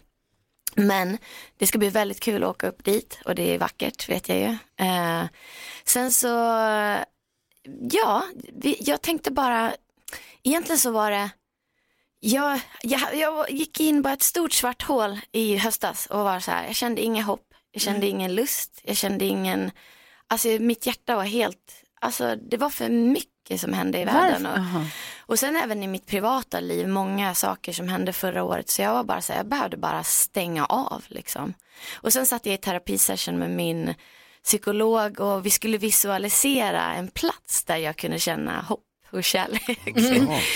K: Men det ska bli väldigt kul att åka upp dit och det är vackert vet jag ju. Eh, sen så Ja, vi, jag tänkte bara, egentligen så var det, jag, jag, jag gick in bara ett stort svart hål i höstas och var så här, jag kände inget hopp, jag kände ingen lust, jag kände ingen, alltså mitt hjärta var helt, alltså det var för mycket som hände i världen. Och,
A: Aha.
K: och sen även i mitt privata liv, många saker som hände förra året. Så jag var bara så här, jag behövde bara stänga av liksom. Och sen satt jag i terapisession med min psykolog och vi skulle visualisera en plats där jag kunde känna hopp och kärlek.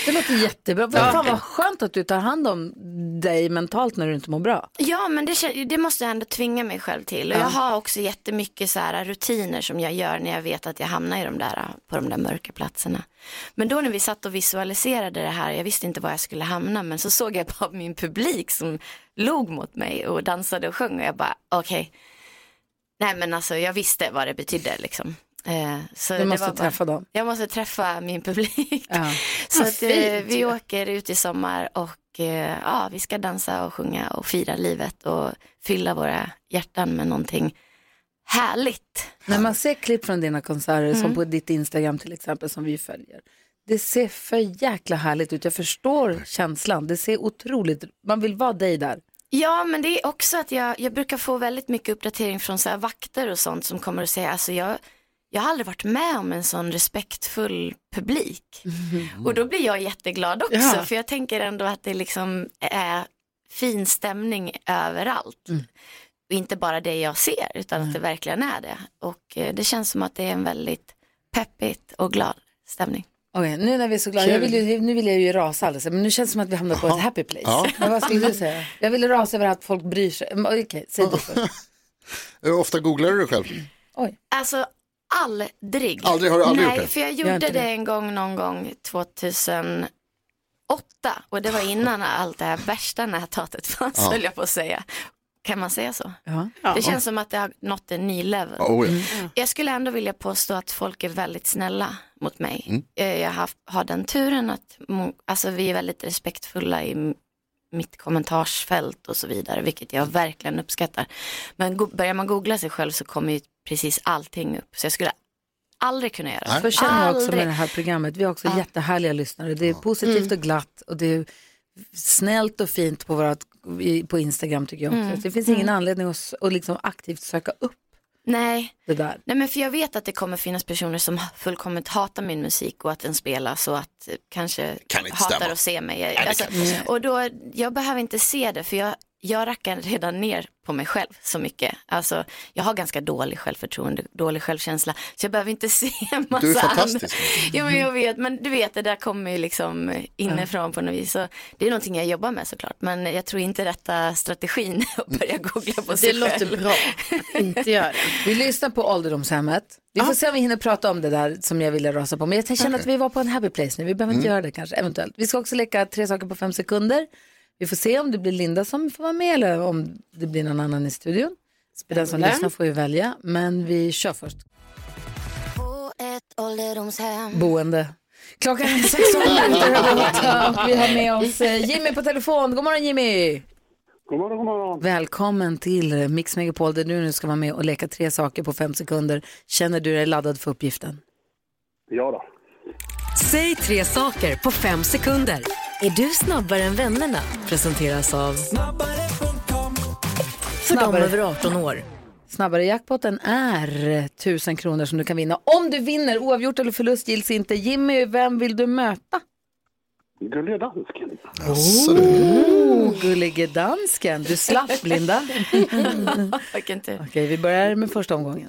A: Det låter jättebra. Vad Fan vad skönt att du tar hand om dig mentalt när du inte mår bra.
K: Ja men det, kän- det måste jag ändå tvinga mig själv till. Och
A: Ja.
K: jag har också jättemycket så här rutiner som jag gör när jag vet att jag hamnar i de där, på de där mörka platserna. Men då när vi satt och visualiserade det här, jag visste inte var jag skulle hamna, men så såg jag bara min publik som log mot mig och dansade och sjöng och jag bara okej, nej men alltså jag visste vad det betydde liksom. Eh, så
A: Du
K: det
A: måste
K: var bara-
A: träffa dem.
K: Jag måste träffa min publik. Så
A: Vad
K: att, eh,
A: fint
K: vi
A: ju.
K: åker ut i sommar och eh, ja, vi ska dansa och sjunga och fira livet och fylla våra hjärtan med någonting härligt. Mm.
A: När man ser klipp från dina konserter, som på ditt Instagram till exempel, som vi följer. Det ser för jäkla härligt ut. Jag förstår känslan. Det ser otroligt... Man vill vara dig där.
K: Ja, men det är också att jag, jag brukar få väldigt mycket uppdatering från så här vakter och sånt som kommer och säger, alltså jag, jag har aldrig varit med om en sån respektfull publik.
A: Mm.
K: Och då blir jag jätteglad också,
B: Ja.
K: för jag tänker ändå att det liksom är fin stämning överallt. Och inte bara det jag ser, utan att det verkligen är det. Och eh, det känns som att det är en väldigt peppigt och glad stämning.
A: Okej, nu när vi är så glada,
K: Kul.
A: jag vill ju, nu vill jag ju rasa alldeles, men nu känns det som att vi hamnar på ett happy place.
C: Ja.
A: Men vad skulle du säga? Jag vill rasa över att folk bryr sig. Men Okej, säg du först.
C: Hur ofta googlar du dig själv?
K: Alltså aldrig.
C: Aldrig, har du aldrig
K: Nej,
C: gjort det?
K: för jag
C: Gör
K: gjorde
C: inte
K: det.
C: det.
K: en gång någon gång 2008
C: Ah.
K: och det var innan allt det här värsta näthatet fanns
C: Ja.
K: höll jag på att säga. Kan man säga så?
A: Ja.
K: Det känns som att det har nått en ny level.
C: Oh, ja.
K: Jag skulle ändå vilja påstå att folk är väldigt snälla mot mig.
C: Mm.
K: Eh, Jag har, haft, har den turen att mo- alltså, vi är väldigt respektfulla i m- mitt kommentarsfält och så vidare, vilket jag verkligen uppskattar. Men go- börjar man googla sig själv så kommer ju precis allting upp, så jag skulle aldrig kunna göra det.
A: Så känner jag också med
K: Aldrig.
A: det här programmet. Vi har också jättehärliga lyssnare. Det är positivt
K: Mm.
A: och glatt och det är snällt och fint på, vårat, i- på Instagram tycker jag också.
K: Mm.
A: Så Det finns ingen
K: Mm.
A: anledning att, s- att liksom aktivt söka upp
K: Nej,
A: det där.
K: Nej men för jag vet att det kommer finnas personer som fullkomligt hatar min musik och att den spelas och att eh, kanske
C: Kan inte
K: hatar
C: stämma.
K: att se mig.
C: det
K: alltså,
C: kan inte
K: och då, jag behöver inte se det för jag, jag rackar redan ner på mig själv så mycket. Alltså, jag har ganska dålig självförtroende, dålig självkänsla så jag behöver inte se en massa
C: Du är fantastisk.
K: andra. Ja men jag vet, men du vet det där kommer ju liksom inifrån på något vis. Så det är någonting jag jobbar med såklart men jag tror inte rätta strategin är att börja googla på sig själv.
B: Inte göra
A: Vi lyssnar på ålderdomshemmet. Vi får se om vi hinner prata om det där som jag ville rasa på. Men jag känner att vi var på en happy place nu. Vi behöver inte
K: Mm.
A: göra det kanske, eventuellt. Vi ska också leka tre saker på fem sekunder. Vi får se om det blir Linda som får vara med eller om det blir någon annan i studion. Den som
K: Spännande.
A: lyssnar får ju välja, men vi kör först.
K: På ett ålderdomshem
A: Boende. Klockan är 16 minuter över åtta och vi har med oss eh, Jimmy på telefon. God morgon Jimmy!
M: God morgon, god morgon.
A: Välkommen till Mix Megapol där du nu ska vara med och leka tre saker på fem sekunder. Känner du dig laddad för uppgiften?
M: Ja då.
N: Säg tre saker på fem sekunder. Är du snabbare än vännerna? Presenteras av... För dem
A: Snabbare.
N: över 18 år.
A: Snabbare jackpotten är 1000 kronor som du kan vinna. Om du vinner, oavgjort eller förlust gills inte. Jimmy, vem vill du möta?
M: Gullige dansken.
A: Oh, gullige dansken. Du slapp, Linda.
K: Vilken tur.
A: Okej, vi börjar med första omgången.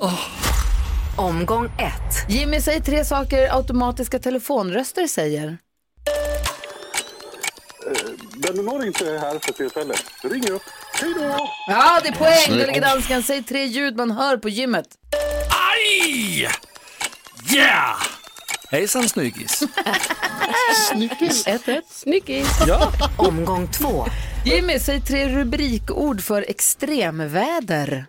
N: Omgång ett.
A: Jimmy, säg tre saker automatiska telefonröster säger.
M: Eh, Den når inte här för tillfället. Ring upp. Hej då!
A: Ja, det är poäng,
M: Snyggt.
A: gullige dansken. Säg tre ljud man hör på gymmet.
D: Aj! Yeah! Hejsan snyggis.
A: Snyggis. Ett, ett.
N: Snyggis.
D: Ja.
N: Omgång två.
A: Jimmy, säg tre rubrikord för extremväder.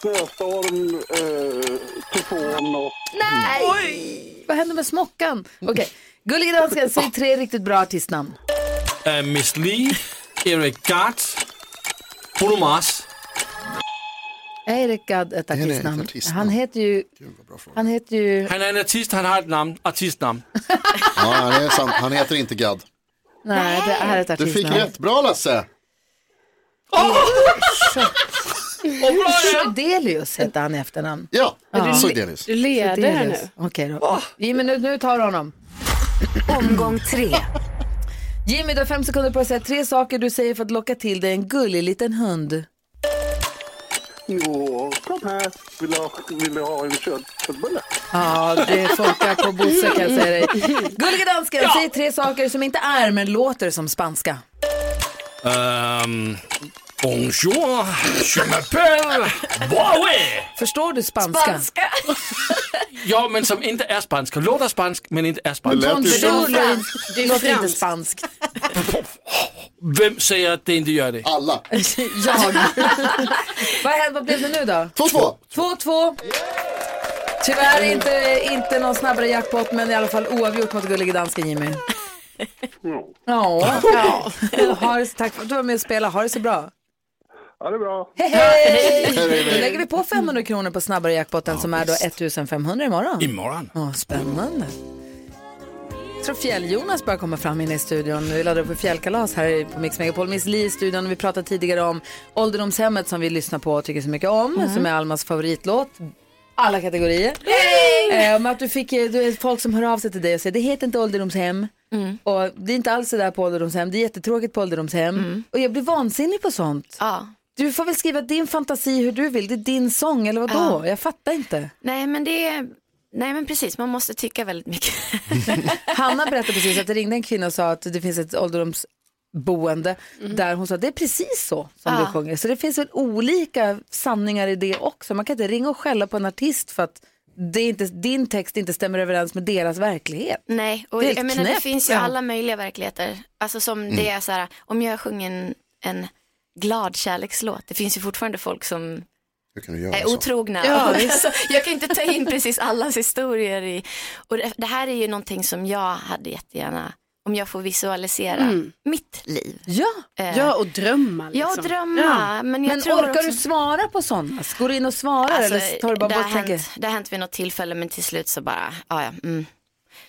M: Snöstorm, eh, tufon och...
A: Nej! Vad händer med smockan? Okej, gullige dansken, säg tre riktigt bra artistnamn.
D: Uh, Miss Lee, Eric Gart, Bruno Mars.
A: Erik Gadd, ett
D: är ett
A: artistnamn.
D: artistnamn.
A: Han heter ju... Han heter ju...
D: Han är en artist, han har ett namn, artistnamn.
C: Ja, det är sant. Han heter inte Gadd.
A: Nej, det är ett
C: Du fick
A: artistnamn.
C: rätt. Bra Lasse!
A: Sjödelius hette han i efternamn.
C: Ja,
A: Ja.
C: Zoidelius.
B: Du leder här nu.
A: Okej då. Jimmy, nu, nu tar du honom.
N: Omgång tre.
A: Jimmy, du har fem sekunder på dig att säga tre saker du säger för att locka till dig en gullig liten hund.
M: Jo, kom här. Vill du ha, vill du ha en kött- köttbulle?
A: Ja, det funkar på Bosse kan jag säga dig. Gullige dansken, säg tre saker som inte är men låter som spanska.
D: Um, bonjour, je m'appelle Huawei.
A: Förstår du spanska? Spanska!
D: Ja, men som inte är spansk. Låter spansk, men inte är spansk.
A: Bonjour låter inte spanskt.
D: Vem säger att det inte gör det?
C: Alla.
A: Jag. vad, hände, vad blev det nu då?
C: 2-2.
A: 2-2. Tyvärr inte, inte någon snabbare jackpot, men i alla fall oavgjort mot gullige dansken Jimmy. Ja, ja. Ha det, så- tack för att du var med och spelade. Ha det så bra.
M: Ja, det är bra.
A: Hej, hej! Då lägger vi på 500 kronor på snabbare jackpotten som är då 1500 imorgon.
D: Imorgon.
A: Ja, spännande. Jag tror Fjäll-Jonas börjar komma fram inne i studion. Vi laddar upp för fjällkalas här på Mix Megapol. Miss Li i studion. Vi pratade tidigare om ålderdomshemmet som vi lyssnar på och tycker så mycket om.
N: Mm.
A: Som är Almas favoritlåt. Alla kategorier. Eh, men att du fick eh, du är folk som hör av sig till dig och säger det heter inte ålderdomshem. Och det är inte alls sådär på ålderdomshem. Det är jättetråkigt på ålderdomshem. Och jag blir vansinnig på sånt. Du får väl skriva din fantasi hur du vill. Det är din sång eller vadå?
K: Ja.
A: Jag fattar inte.
K: Nej men det är, nej men precis, man måste tycka väldigt mycket.
A: Hanna berättade precis att det ringde en kvinna och sa att det finns ett ålderdomsboende där hon sa att det är precis så som
K: Mhm. Ja.
A: du sjunger. Så det finns väl olika sanningar i det också. Man kan inte ringa och skälla på en artist för att det är inte, din text inte stämmer överens med deras verklighet.
K: Nej, och
A: Det är
K: jag
A: helt
K: menar det
A: knäppt.
K: finns ju
A: Ja.
K: alla möjliga verkligheter. Alltså som
A: Mm.
K: det är så här, om jag sjunger en, en glad kärlekslåt, det finns ju fortfarande folk som
C: Hur kan du göra
K: är
C: så?
K: otrogna.
C: Ja,
K: Och
C: visst.
K: alltså, jag kan inte ta in precis allas historier. I, och det, det här är ju någonting som jag hade jättegärna, om jag får visualisera
B: Mm.
K: mitt liv.
A: Ja,
K: Eh,
B: ja och drömma. Liksom.
K: Ja, och drömma. Men, jag tror
A: orkar
K: också... Alltså,
A: du svara på sådana? Går du in och svarar eller tar du bara
K: det,
A: bort
K: har
A: tanken?
K: hänt, det har hänt vid något tillfälle men till slut så bara, ja ja. Mm.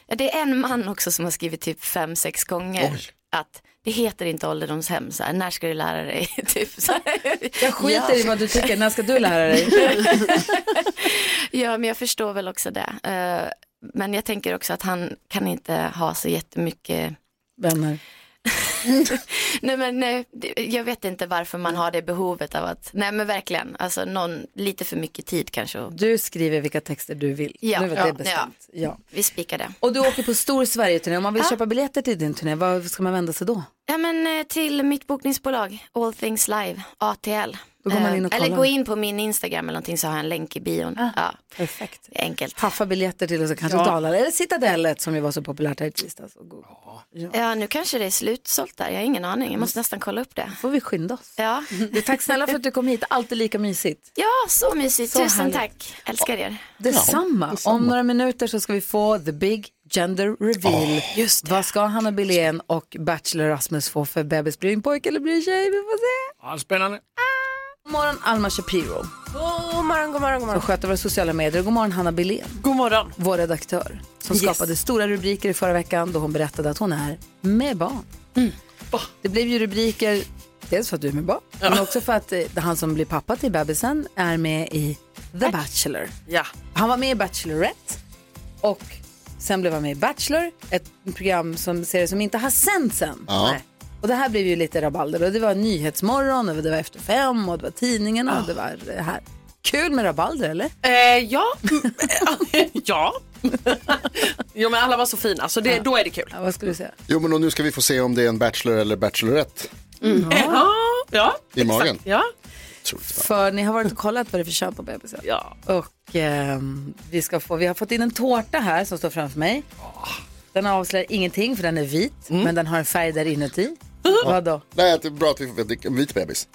K: Ja, Det är en man också som har skrivit typ fem, sex gånger
A: Oj.
K: att det heter inte ålderdomshem, så här, när ska du lära dig? typ, så här.
A: Jag skiter i vad du tycker, när ska du lära dig?
K: ja, men jag förstår väl också det. Eh, Men jag tänker också att han kan inte ha så jättemycket
A: Vänner.
K: nej men nej, det- jag vet inte varför man har det behovet av att, nej men verkligen, alltså någon, lite för mycket tid kanske. att-
A: Du skriver vilka texter du vill.
K: Ja,
A: nu vet
K: ja,
A: jag bestämt. Ja.
K: Vi spikar det.
A: Och du åker på stor Sverige-turné. Om man vill köpa biljetter till din turné, var ska man vända sig då?
K: Ja, men eh, till mitt bokningsbolag All Things Live, ATL.
A: Då går man in och
K: Eh, Eller
A: kollar. Ah,
K: gå in på min Instagram eller någonting så har jag en länk i bion. Ja.
A: Perfekt.
K: Enkelt.
A: Haffa biljetter till och så kanske
K: Ja.
A: Dalarna eller Citadellet som ju var så populärt här i tisdags. Och god-
K: Ja. nu kanske det är slutsålt där, jag har ingen aning. Jag måste nästan kolla upp det.
A: Mm. får vi skynda oss.
K: Ja,
A: Du, Tack snälla för att du kom hit, alltid lika mysigt.
K: ja så mysigt.
A: Så
K: Tusen
A: härligt.
K: tack, älskar er.
A: Detsamma. Om några minuter så ska vi få The Big Gender Reveal. Just Vad ska Hanna Billén och Bachelor Rasmus få för bebis? Blir det en pojke eller blir det en tjej? Vi får se.
D: Ja, spännande.
A: God morgon Alma Shapiro
G: God morgon, god morgon, god
A: som
G: morgon.
A: sköter våra sociala medier. God morgon Hanna Billén.
O: God morgon.
A: Vår redaktör som
O: Yes.
A: skapade stora rubriker i förra veckan då hon berättade att hon är med barn.
O: Mm.
A: Det blev ju rubriker dels för att du är med barn men också för att eh, han som blir pappa till bebisen är med i The Bachelor.
O: Ja.
A: Han var med i Bachelorette och sen blev han med i Bachelor, ett program som serie som inte har sänts än.
O: Ja.
A: Nej. Och det här blev ju lite rabalder och det var Nyhetsmorgon och det var Efter fem och det var tidningarna
C: Ah.
A: och det var det här. Kul med rabalder eller?
O: Eh, ja. ja. jo men alla var så fina så det, då är det kul.
A: Ja, vad skulle du säga?
C: Jo, men och nu ska vi få se om det är en Bachelor eller Bachelorette
A: Mm.
O: Eh, ja. ja.
C: i magen.
O: Ja.
A: För ni har varit och kollat vad det är för kön på bebisen.
O: Ja.
A: Och ehm, vi, ska få, vi har fått in en tårta här som står framför mig.
O: Ah.
A: Den avslöjar ingenting för den är vit,
O: Mm.
A: men den har en färg där inuti. Vadå?
C: Nej, att det är bra att vi får veta. En vit bebis.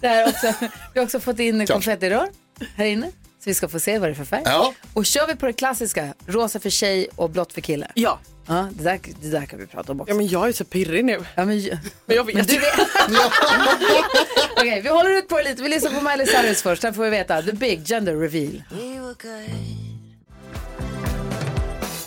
A: Det här är också, vi har också fått in
C: Klart.
A: konfettirör här inne. Så vi ska få se vad det är för färg.
C: Ja.
A: Och kör vi på det klassiska, rosa för tjej och blått för kille.
O: Ja.
A: ja det, där, det där kan vi prata om också.
O: Ja men jag är så pirrig nu.
A: Ja, men,
O: men jag vet. Men du vet.
A: Okej, vi håller ut på det lite. Vi lyssnar på Miley Cyrus först. Sen får vi veta the big gender reveal.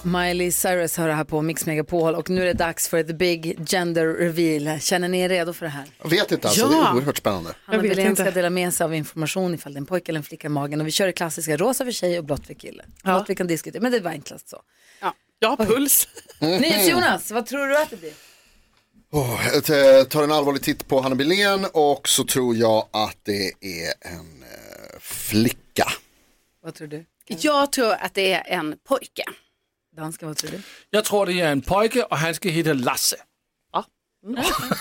A: Miley Cyrus hör det här på Mix Megapol och nu är det dags för the big gender reveal. Känner ni er redo för det här?
C: Jag vet inte alltså, det
A: Ja.
C: är oerhört spännande.
A: Hanna Billén ska dela med sig av information ifall det är en pojke eller en flicka i magen. Och vi kör det klassiska, rosa för tjej och blått för kille. Något vi kan diskutera, men det var enklast så.
O: Ja. Jag har puls.
A: Jonas, vad tror du att det blir?
C: Åh, jag t- tar en allvarlig titt på Hanna Billén och så tror jag att det är en eh, flicka.
A: Vad tror du?
B: Jag tror att det är en pojke.
A: Danska, vad tror du?
D: Jag tror, det är en pojke och han ska heta Lasse.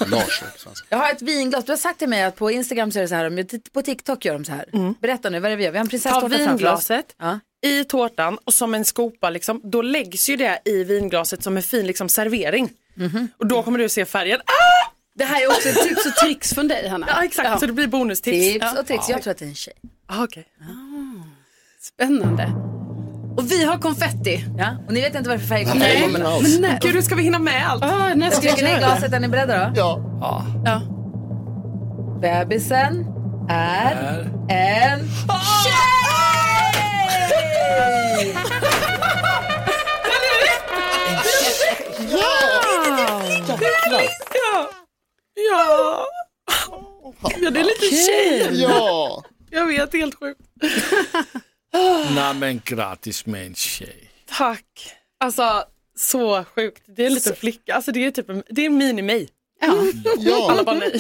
C: Lars på svenska.
A: Jag har ett vinglas. Du har sagt till mig att på Instagram så är det så här, men på TikTok gör de så här. Berätta nu, vad är det vi gör? Vi har en
O: Ta
A: prinsesstårta framför oss.
O: vinglaset i tårtan och som en skopa liksom, då läggs ju det i vinglaset som en fin liksom, servering.
A: Mhm.
O: Och då kommer du se färgen. Ah!
B: Det här är också tips och tricks från dig Hanna.
O: Ja exakt, så det blir bonustips.
A: Tips och tricks. Jag tror att det är en tjej.
O: Ah, okej.
B: Spännande. Och vi har konfetti.
A: Ja, och ni vet inte varför färg
O: Nej,
A: kommer
O: Nej, men alls. Gud, hur ska vi hinna med allt?
B: Ah, när
A: Jag
B: ska jag
A: trycker ner
B: göra det?
A: glaset, är ni beredda då?
C: Ja.
D: Ja.
A: Bebisen är en
O: Ja! Det visste jag!
A: tjej!
O: Ja! Ja, det är lite
D: Kul.
O: tjej.
D: Ja.
O: Jag vet, helt sjukt.
D: Nej men grattis med en tjej.
O: Tack. Alltså, så sjukt. Det är en liten flicka. Alltså, det är typ en, det är en mini-mig. Mm.
C: Ja.
O: Alla bara nej.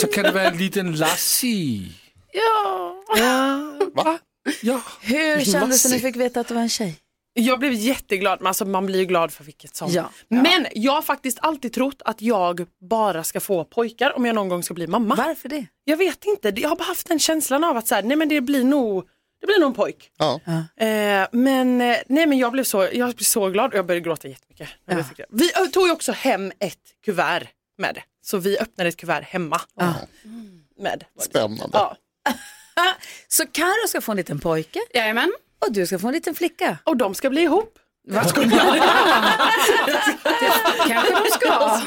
D: Så kan det vara en liten Lassie.
O: Ja. ja.
C: Va?
D: Ja.
A: Hur kändes det när ni
O: Lassie.
A: fick veta att det var en tjej?
O: Jag blev jätteglad, men alltså, man blir ju glad för vilket som.
A: Ja.
O: Men jag har faktiskt alltid trott att jag bara ska få pojkar om jag någon gång ska bli mamma.
A: Varför det?
O: Jag vet inte, jag har bara haft den känslan av att så här, nej men det blir nog det blir nog en pojk.
C: Ja.
O: Eh, men, eh, nej, men jag blev så, jag blev så glad och jag började gråta jättemycket. när jag fick det. Vi ö, tog ju också hem ett kuvert med det. Så vi öppnade ett kuvert hemma. Med.
C: Spännande.
O: Ja.
A: Så Karo ska få en liten pojke.
B: Jajamän.
A: Och du ska få en liten flicka.
O: Och de ska bli ihop.
A: Va?
B: Kanske de ska.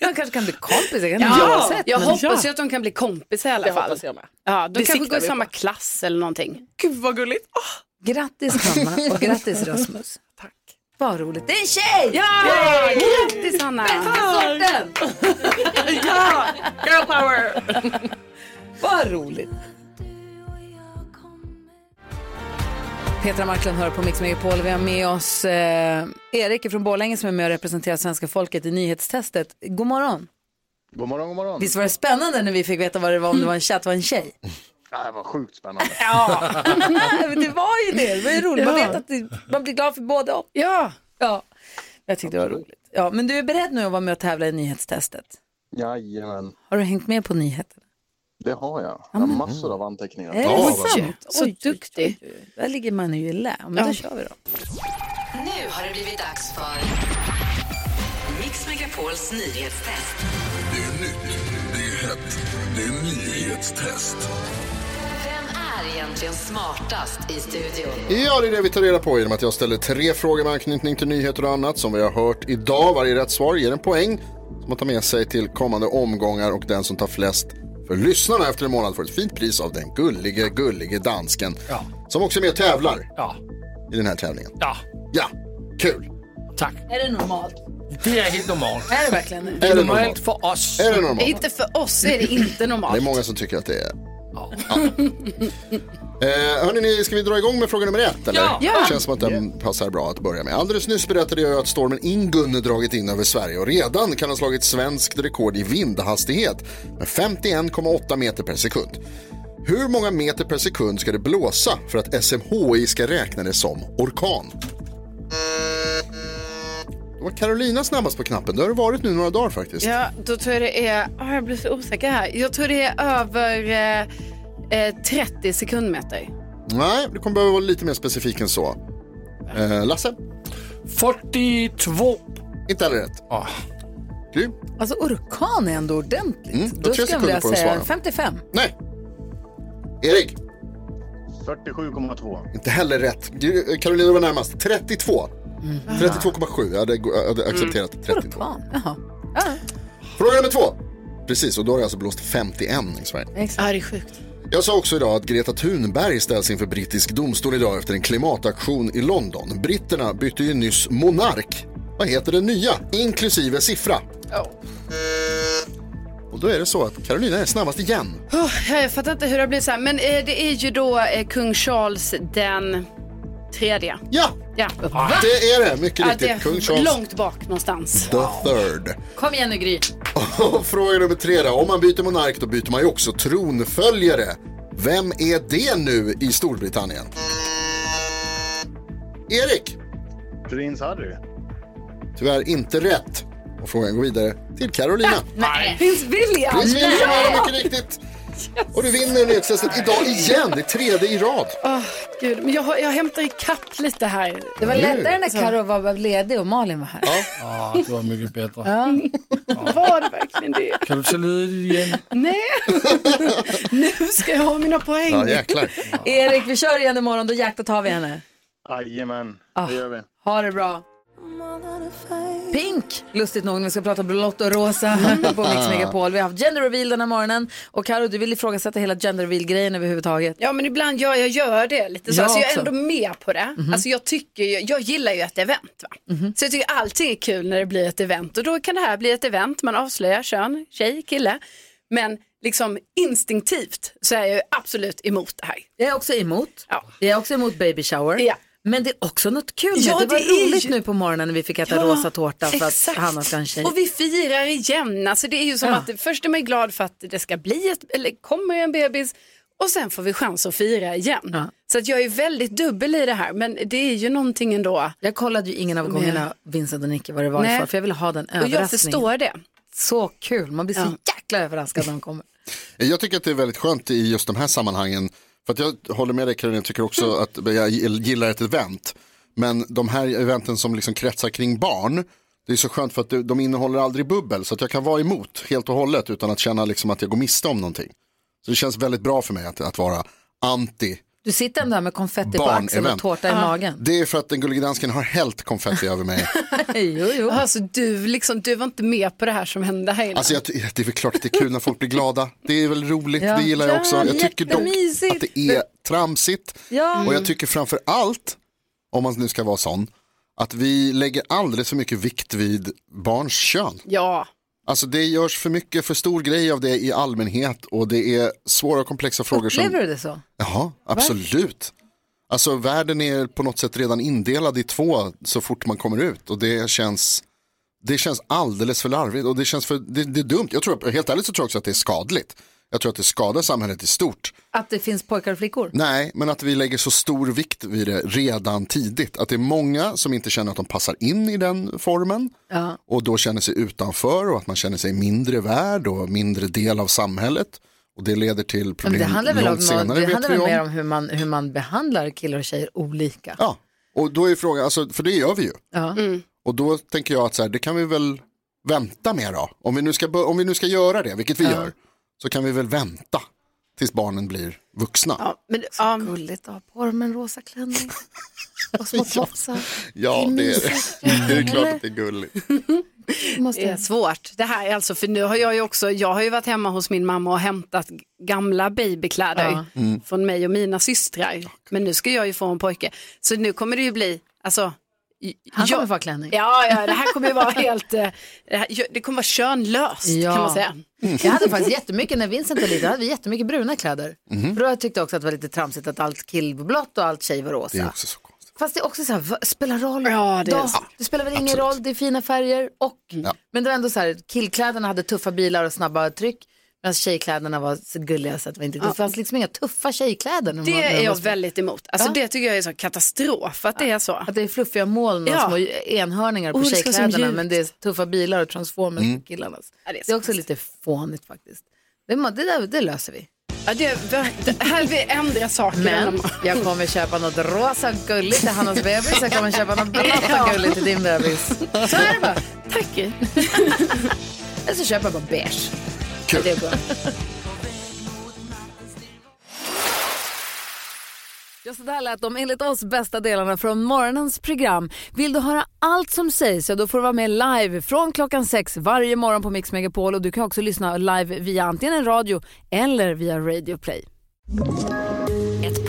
A: De kanske kan bli kompisar. kan inte
B: Ja,
A: ha sett,
B: jag
A: men-
B: hoppas ju att de kan bli kompisar i alla
A: Det
B: fall.
A: hoppas jag med.
B: Ja, de
A: Det
B: kanske
A: siktar
B: går i
A: vi
B: samma
A: på.
B: klass eller någonting.
O: Gud vad gulligt.
A: Ah! Grattis Hanna och grattis Rasmus. Tack. Vad roligt. Det är en tjej!
B: Ja!
A: Yay!
B: Grattis Hanna!
A: Bästa sorten!
O: ja! Girl power!
A: Vad roligt. Petra Marklund hör på Mix Megapol. Vi har med oss eh, Erik från Borlänge som är med och representerar svenska folket i nyhetstestet. God morgon.
P: God morgon, god morgon.
A: Visst var det spännande när vi fick veta vad det var om det var en chatt var en tjej?
P: Ja, det var sjukt spännande.
A: Ja. Men det var ju det. Det var ju roligt. Man vet att det, man blir glad för båda och.
B: Ja.
A: ja. Jag tyckte det var roligt. Ja, men du är beredd nu att vara med och tävla i nyhetstestet?
P: Jajamän,
A: Har du hängt med på nyheterna? Mm.
P: det har jag. Jag har massor av anteckningar.
A: Är det sant?
B: Så duktig.
A: Där ligger man ju i lä. Men
B: Ja.
A: då kör vi då.
N: Nu har det blivit dags för Mix Megapols nyhetstest.
F: Det är nytt, det är hett, det är nyhetstest.
N: Vem är egentligen smartast i studion?
C: Ja, det är det vi tar reda på genom att jag ställer tre frågor med anknytning till nyheter och annat som vi har hört idag. Varje rätt svar ger en poäng som man tar med sig till kommande omgångar och den som tar flest för lyssnarna efter en månad får ett fint pris av den gullige, gullige dansken som också är med och tävlar i den här tävlingen.
D: Ja.
C: Ja, kul.
D: Tack.
A: Är det normalt?
D: Det är helt normalt.
A: Är det verkligen det?
D: Det är
C: Är det
D: normalt
C: normalt?
D: för oss.
C: Är det normalt?
B: Inte för oss är det inte normalt.
C: Det är många som tycker att det är... Ja. Eh, hörni, ni, ska vi dra igång med fråga nummer ett? Eller?
B: Ja. Ja.
C: Det känns som att den passar bra att börja med. Alldeles nyss berättade jag ju att stormen Ingun dragit in över Sverige och redan kan ha slagit svenskt rekord i vindhastighet med 51,8 meter per sekund. Hur många meter per sekund ska det blåsa för att SMHI ska räkna det som orkan? Då var Carolina snabbast på knappen. Det har det varit nu några dagar faktiskt.
B: Ja, då tror jag det är, ah, jag blir så osäker här. Jag tror det är över eh, eh, 30 sekundmeter.
C: Nej, du kommer behöva vara lite mer specifik än så. Eh, Lasse?
D: 42.
C: Inte heller rätt.
D: Oh.
C: Du?
A: Alltså orkan är ändå ordentligt.
C: Mm, du har tre
A: Då skulle jag
C: sekunder
A: vilja
C: på dig att
A: säga
C: svara.
A: 55.
C: Nej. Erik?
P: 47,2.
C: Inte heller rätt. Du- eh, Carolina var närmast. 32.
A: Mm.
C: 32,7. Jag hade, go- jag hade accepterat 32.
A: Jaha.
C: Fråga nummer två. Precis, och då har jag alltså blåst 51 i Sverige.
B: Ja, det är sjukt.
C: Jag sa också idag att Greta Thunberg ställs inför brittisk domstol idag efter en klimataktion i London. Britterna bytte ju nyss monark. Vad heter den nya, inklusive siffra? Och då är det så att Carolina är snabbast igen.
B: Oh, jag fattar inte hur det har blivit så här. Men eh, det är ju då eh, kung Charles den tredje.
C: Ja,
B: Ja.
C: det är det. Mycket
B: Ja,
C: riktigt.
B: det är
C: Kung Charles
B: Långt bak någonstans.
C: the third.
A: Kom igen nu Gry.
C: Och Fråga nummer tre då. Om man byter monark då byter man ju också tronföljare. Vem är det nu i Storbritannien? Erik,
P: Prins Harry.
C: tyvärr inte rätt. Och frågan går vidare till Carolina.
A: Nej. Prins William.
C: Prins William är det
A: Nej.
C: mycket riktigt. Och du vinner nyhetstestet idag igen. Det är tredje i rad.
B: Åh, Gud, men jag, har- jag hämtar ikapp lite här.
A: Det var lättare när Karo var ledig och Malin var här.
D: Ja, det var mycket bättre.
A: Ja.
B: Var det verkligen det?
D: Kan du ta ledigt igen?
B: Nej, nu ska jag ha mina poäng.
D: Ja, jäklar.
A: Erik, vi kör igen imorgon. Då jäklar tar vi henne.
P: Jajamän,
A: Ah.
P: det gör vi.
A: Ha det bra. Pink, lustigt nog när vi ska prata blått och rosa här på Mix Megapol. Vi har haft gender reveal den här morgonen och Karo du vill ifrågasätta hela gender reveal-grejen överhuvudtaget.
B: Ja, men ibland gör jag gör det lite så.
A: Jag
B: alltså, jag är
A: också.
B: ändå med på det.
A: Mhm.
B: Alltså, jag, tycker ju, jag gillar ju ett event. Va? Så jag tycker allting är kul när det blir ett event. Och då kan det här bli ett event. Man avslöjar kön, tjej, kille. Men liksom instinktivt så är jag ju absolut emot det här.
A: Jag är också emot. Jag är också emot baby shower. Men det är också något kul med.
B: Ja,
A: det var
B: det är
A: roligt
B: ju-
A: nu på morgonen när vi fick äta
B: Ja,
A: rosa tårta för
B: exakt.
A: att Hanna ska ha en tjej.
B: Och vi firar igen. Alltså, det är ju som
A: Ja.
B: att först är man glad för att det ska bli ett, eller kommer en bebis. Och sen får vi chans att fira igen. Så att jag är väldigt dubbel i det här. Men det är ju någonting ändå.
A: Jag kollade ju ingen av gångerna Vincent och Nicky vad det var
B: Nej.
A: för, för jag ville ha den
B: Och jag
A: överraskningen.
B: förstår det.
A: Så kul, man blir så jäkla överraskad när de kommer.
C: Jag tycker att det är väldigt skönt i just de här sammanhangen. För att jag håller med dig Karin, jag tycker också att jag gillar ett event. Men de här eventen som liksom kretsar kring barn, det är så skönt för att det- de innehåller aldrig bubbel. Så att jag kan vara emot helt och hållet utan att känna liksom att jag går miste om någonting. Så det känns väldigt bra för mig att, att vara anti
A: Du sitter ändå här med konfetti på axeln och
C: barnevent.
A: tårta i magen.
C: Det är för att den gullige dansken har hällt konfetti över mig.
A: jo, jo.
B: Alltså, du, liksom, du var inte med på det här som hände här inne.
C: Alltså jag, ty- det är väl klart att det är kul när folk blir glada. Det är väl roligt,
B: Ja.
C: det gillar jag
B: Ja,
C: också. Jag tycker dock
B: jättemysigt.
C: att det är tramsigt.
A: Ja.
C: Och jag tycker framför allt, om man nu ska vara sån, att vi lägger alldeles för mycket vikt vid barns kön.
B: Ja.
C: Alltså det görs för mycket, för stor grej av det i allmänhet och det är svåra och komplexa frågor som...
A: Upplever du det så?
C: Jaha, absolut. Alltså världen är på något sätt redan indelad i två så fort man kommer ut och det känns, det känns alldeles för larvigt och det känns för, det, det är dumt. Jag tror, helt ärligt så tror jag också att det är skadligt. Jag tror att det skadar samhället i stort.
A: Att det finns pojkar och flickor?
C: Nej, men att vi lägger så stor vikt vid det redan tidigt. Att det är många som inte känner att de passar in i den formen
A: Ja.
C: och då känner sig utanför och att man känner sig mindre värd och mindre del av samhället. Och det leder till
A: Men
C: problem
A: det handlar väl, om,
C: långt senare.
A: något, det
C: vet
A: handlar
C: vi
A: väl mer om hur man, hur man behandlar killar och tjejer olika?
C: Ja, och då är frågan, alltså, för det gör vi ju.
A: Ja.
C: Och då tänker jag att så här, det kan vi väl vänta med då. Om vi nu ska, bör- om vi nu ska göra det, vilket vi gör, så kan vi väl vänta tills barnen blir vuxna. Ja,
B: Men, så gulligt att ha på dem en rosa klänning. Och små tofsar.
C: Alltså, det är
B: mysigt.
C: det. Det är klart att det är gulligt.
B: Det är svårt. Det här är alltså, för nu har jag ju också, jag har ju varit hemma hos min mamma och hämtat g- gamla babykläder
A: Ja.
Q: Mm.
B: från mig och mina systrar. Men nu ska jag ju få en pojke. Så nu kommer det ju bli, alltså. j-
A: Han
B: jag-
A: kommer få ha klänning.
B: Ja, ja, det här kommer ju vara helt, eh, det, här, det kommer vara könlöst
A: Ja. Mm.
B: kan man säga.
A: Jag hade faktiskt jättemycket, när Vincent var liten, då hade vi jättemycket bruna kläder.
C: Mhm.
A: För då tyckte jag också att det var lite tramsigt att allt killblått och allt tjej var rosa.
C: Det är också så konstigt.
A: Fast det är också så här, vad- spelar roll?
B: Ja, det är
A: Då-
B: så.
A: det spelar väl ingen roll, det är fina färger och, men det var ändå så här, killkläderna hade tuffa bilar och snabba tryck, medan tjejkläderna var så gulliga så att det var inte, det
B: Ja.
A: fanns liksom inga tuffa tjejkläder. när man-
B: Det
A: när man
B: är
A: var
B: jag
A: små.
B: väldigt emot. Alltså
A: Ja.
B: det tycker jag är så katastrof att det är så. Att
A: det är fluffiga moln och
B: Ja.
A: små enhörningar på
B: Oh, det ska vara så
A: tjejkläderna,
B: mjukt.
A: men det är tuffa bilar och transformers
C: Mm.
A: på killarna. det, är också lite fånigt faktiskt. Det, må- det, där, det löser vi.
B: Ja, det, det här vi ändra saker.
A: Men jag kommer köpa något rosa gulligt till Hannas bebis. Jag kommer köpa något blått och gulligt till din bebis. Så är det bara.
B: Tack.
A: Eller så köper jag bara beige.
C: Kul.
A: Det är bra. Ja, så där lät de enligt oss bästa delarna från morgonens program. Vill du höra allt som sägs så då får du vara med live från klockan sex varje morgon på Mix Megapol. Och du kan också lyssna live via antingen en radio eller via Radio Play.
N: Ett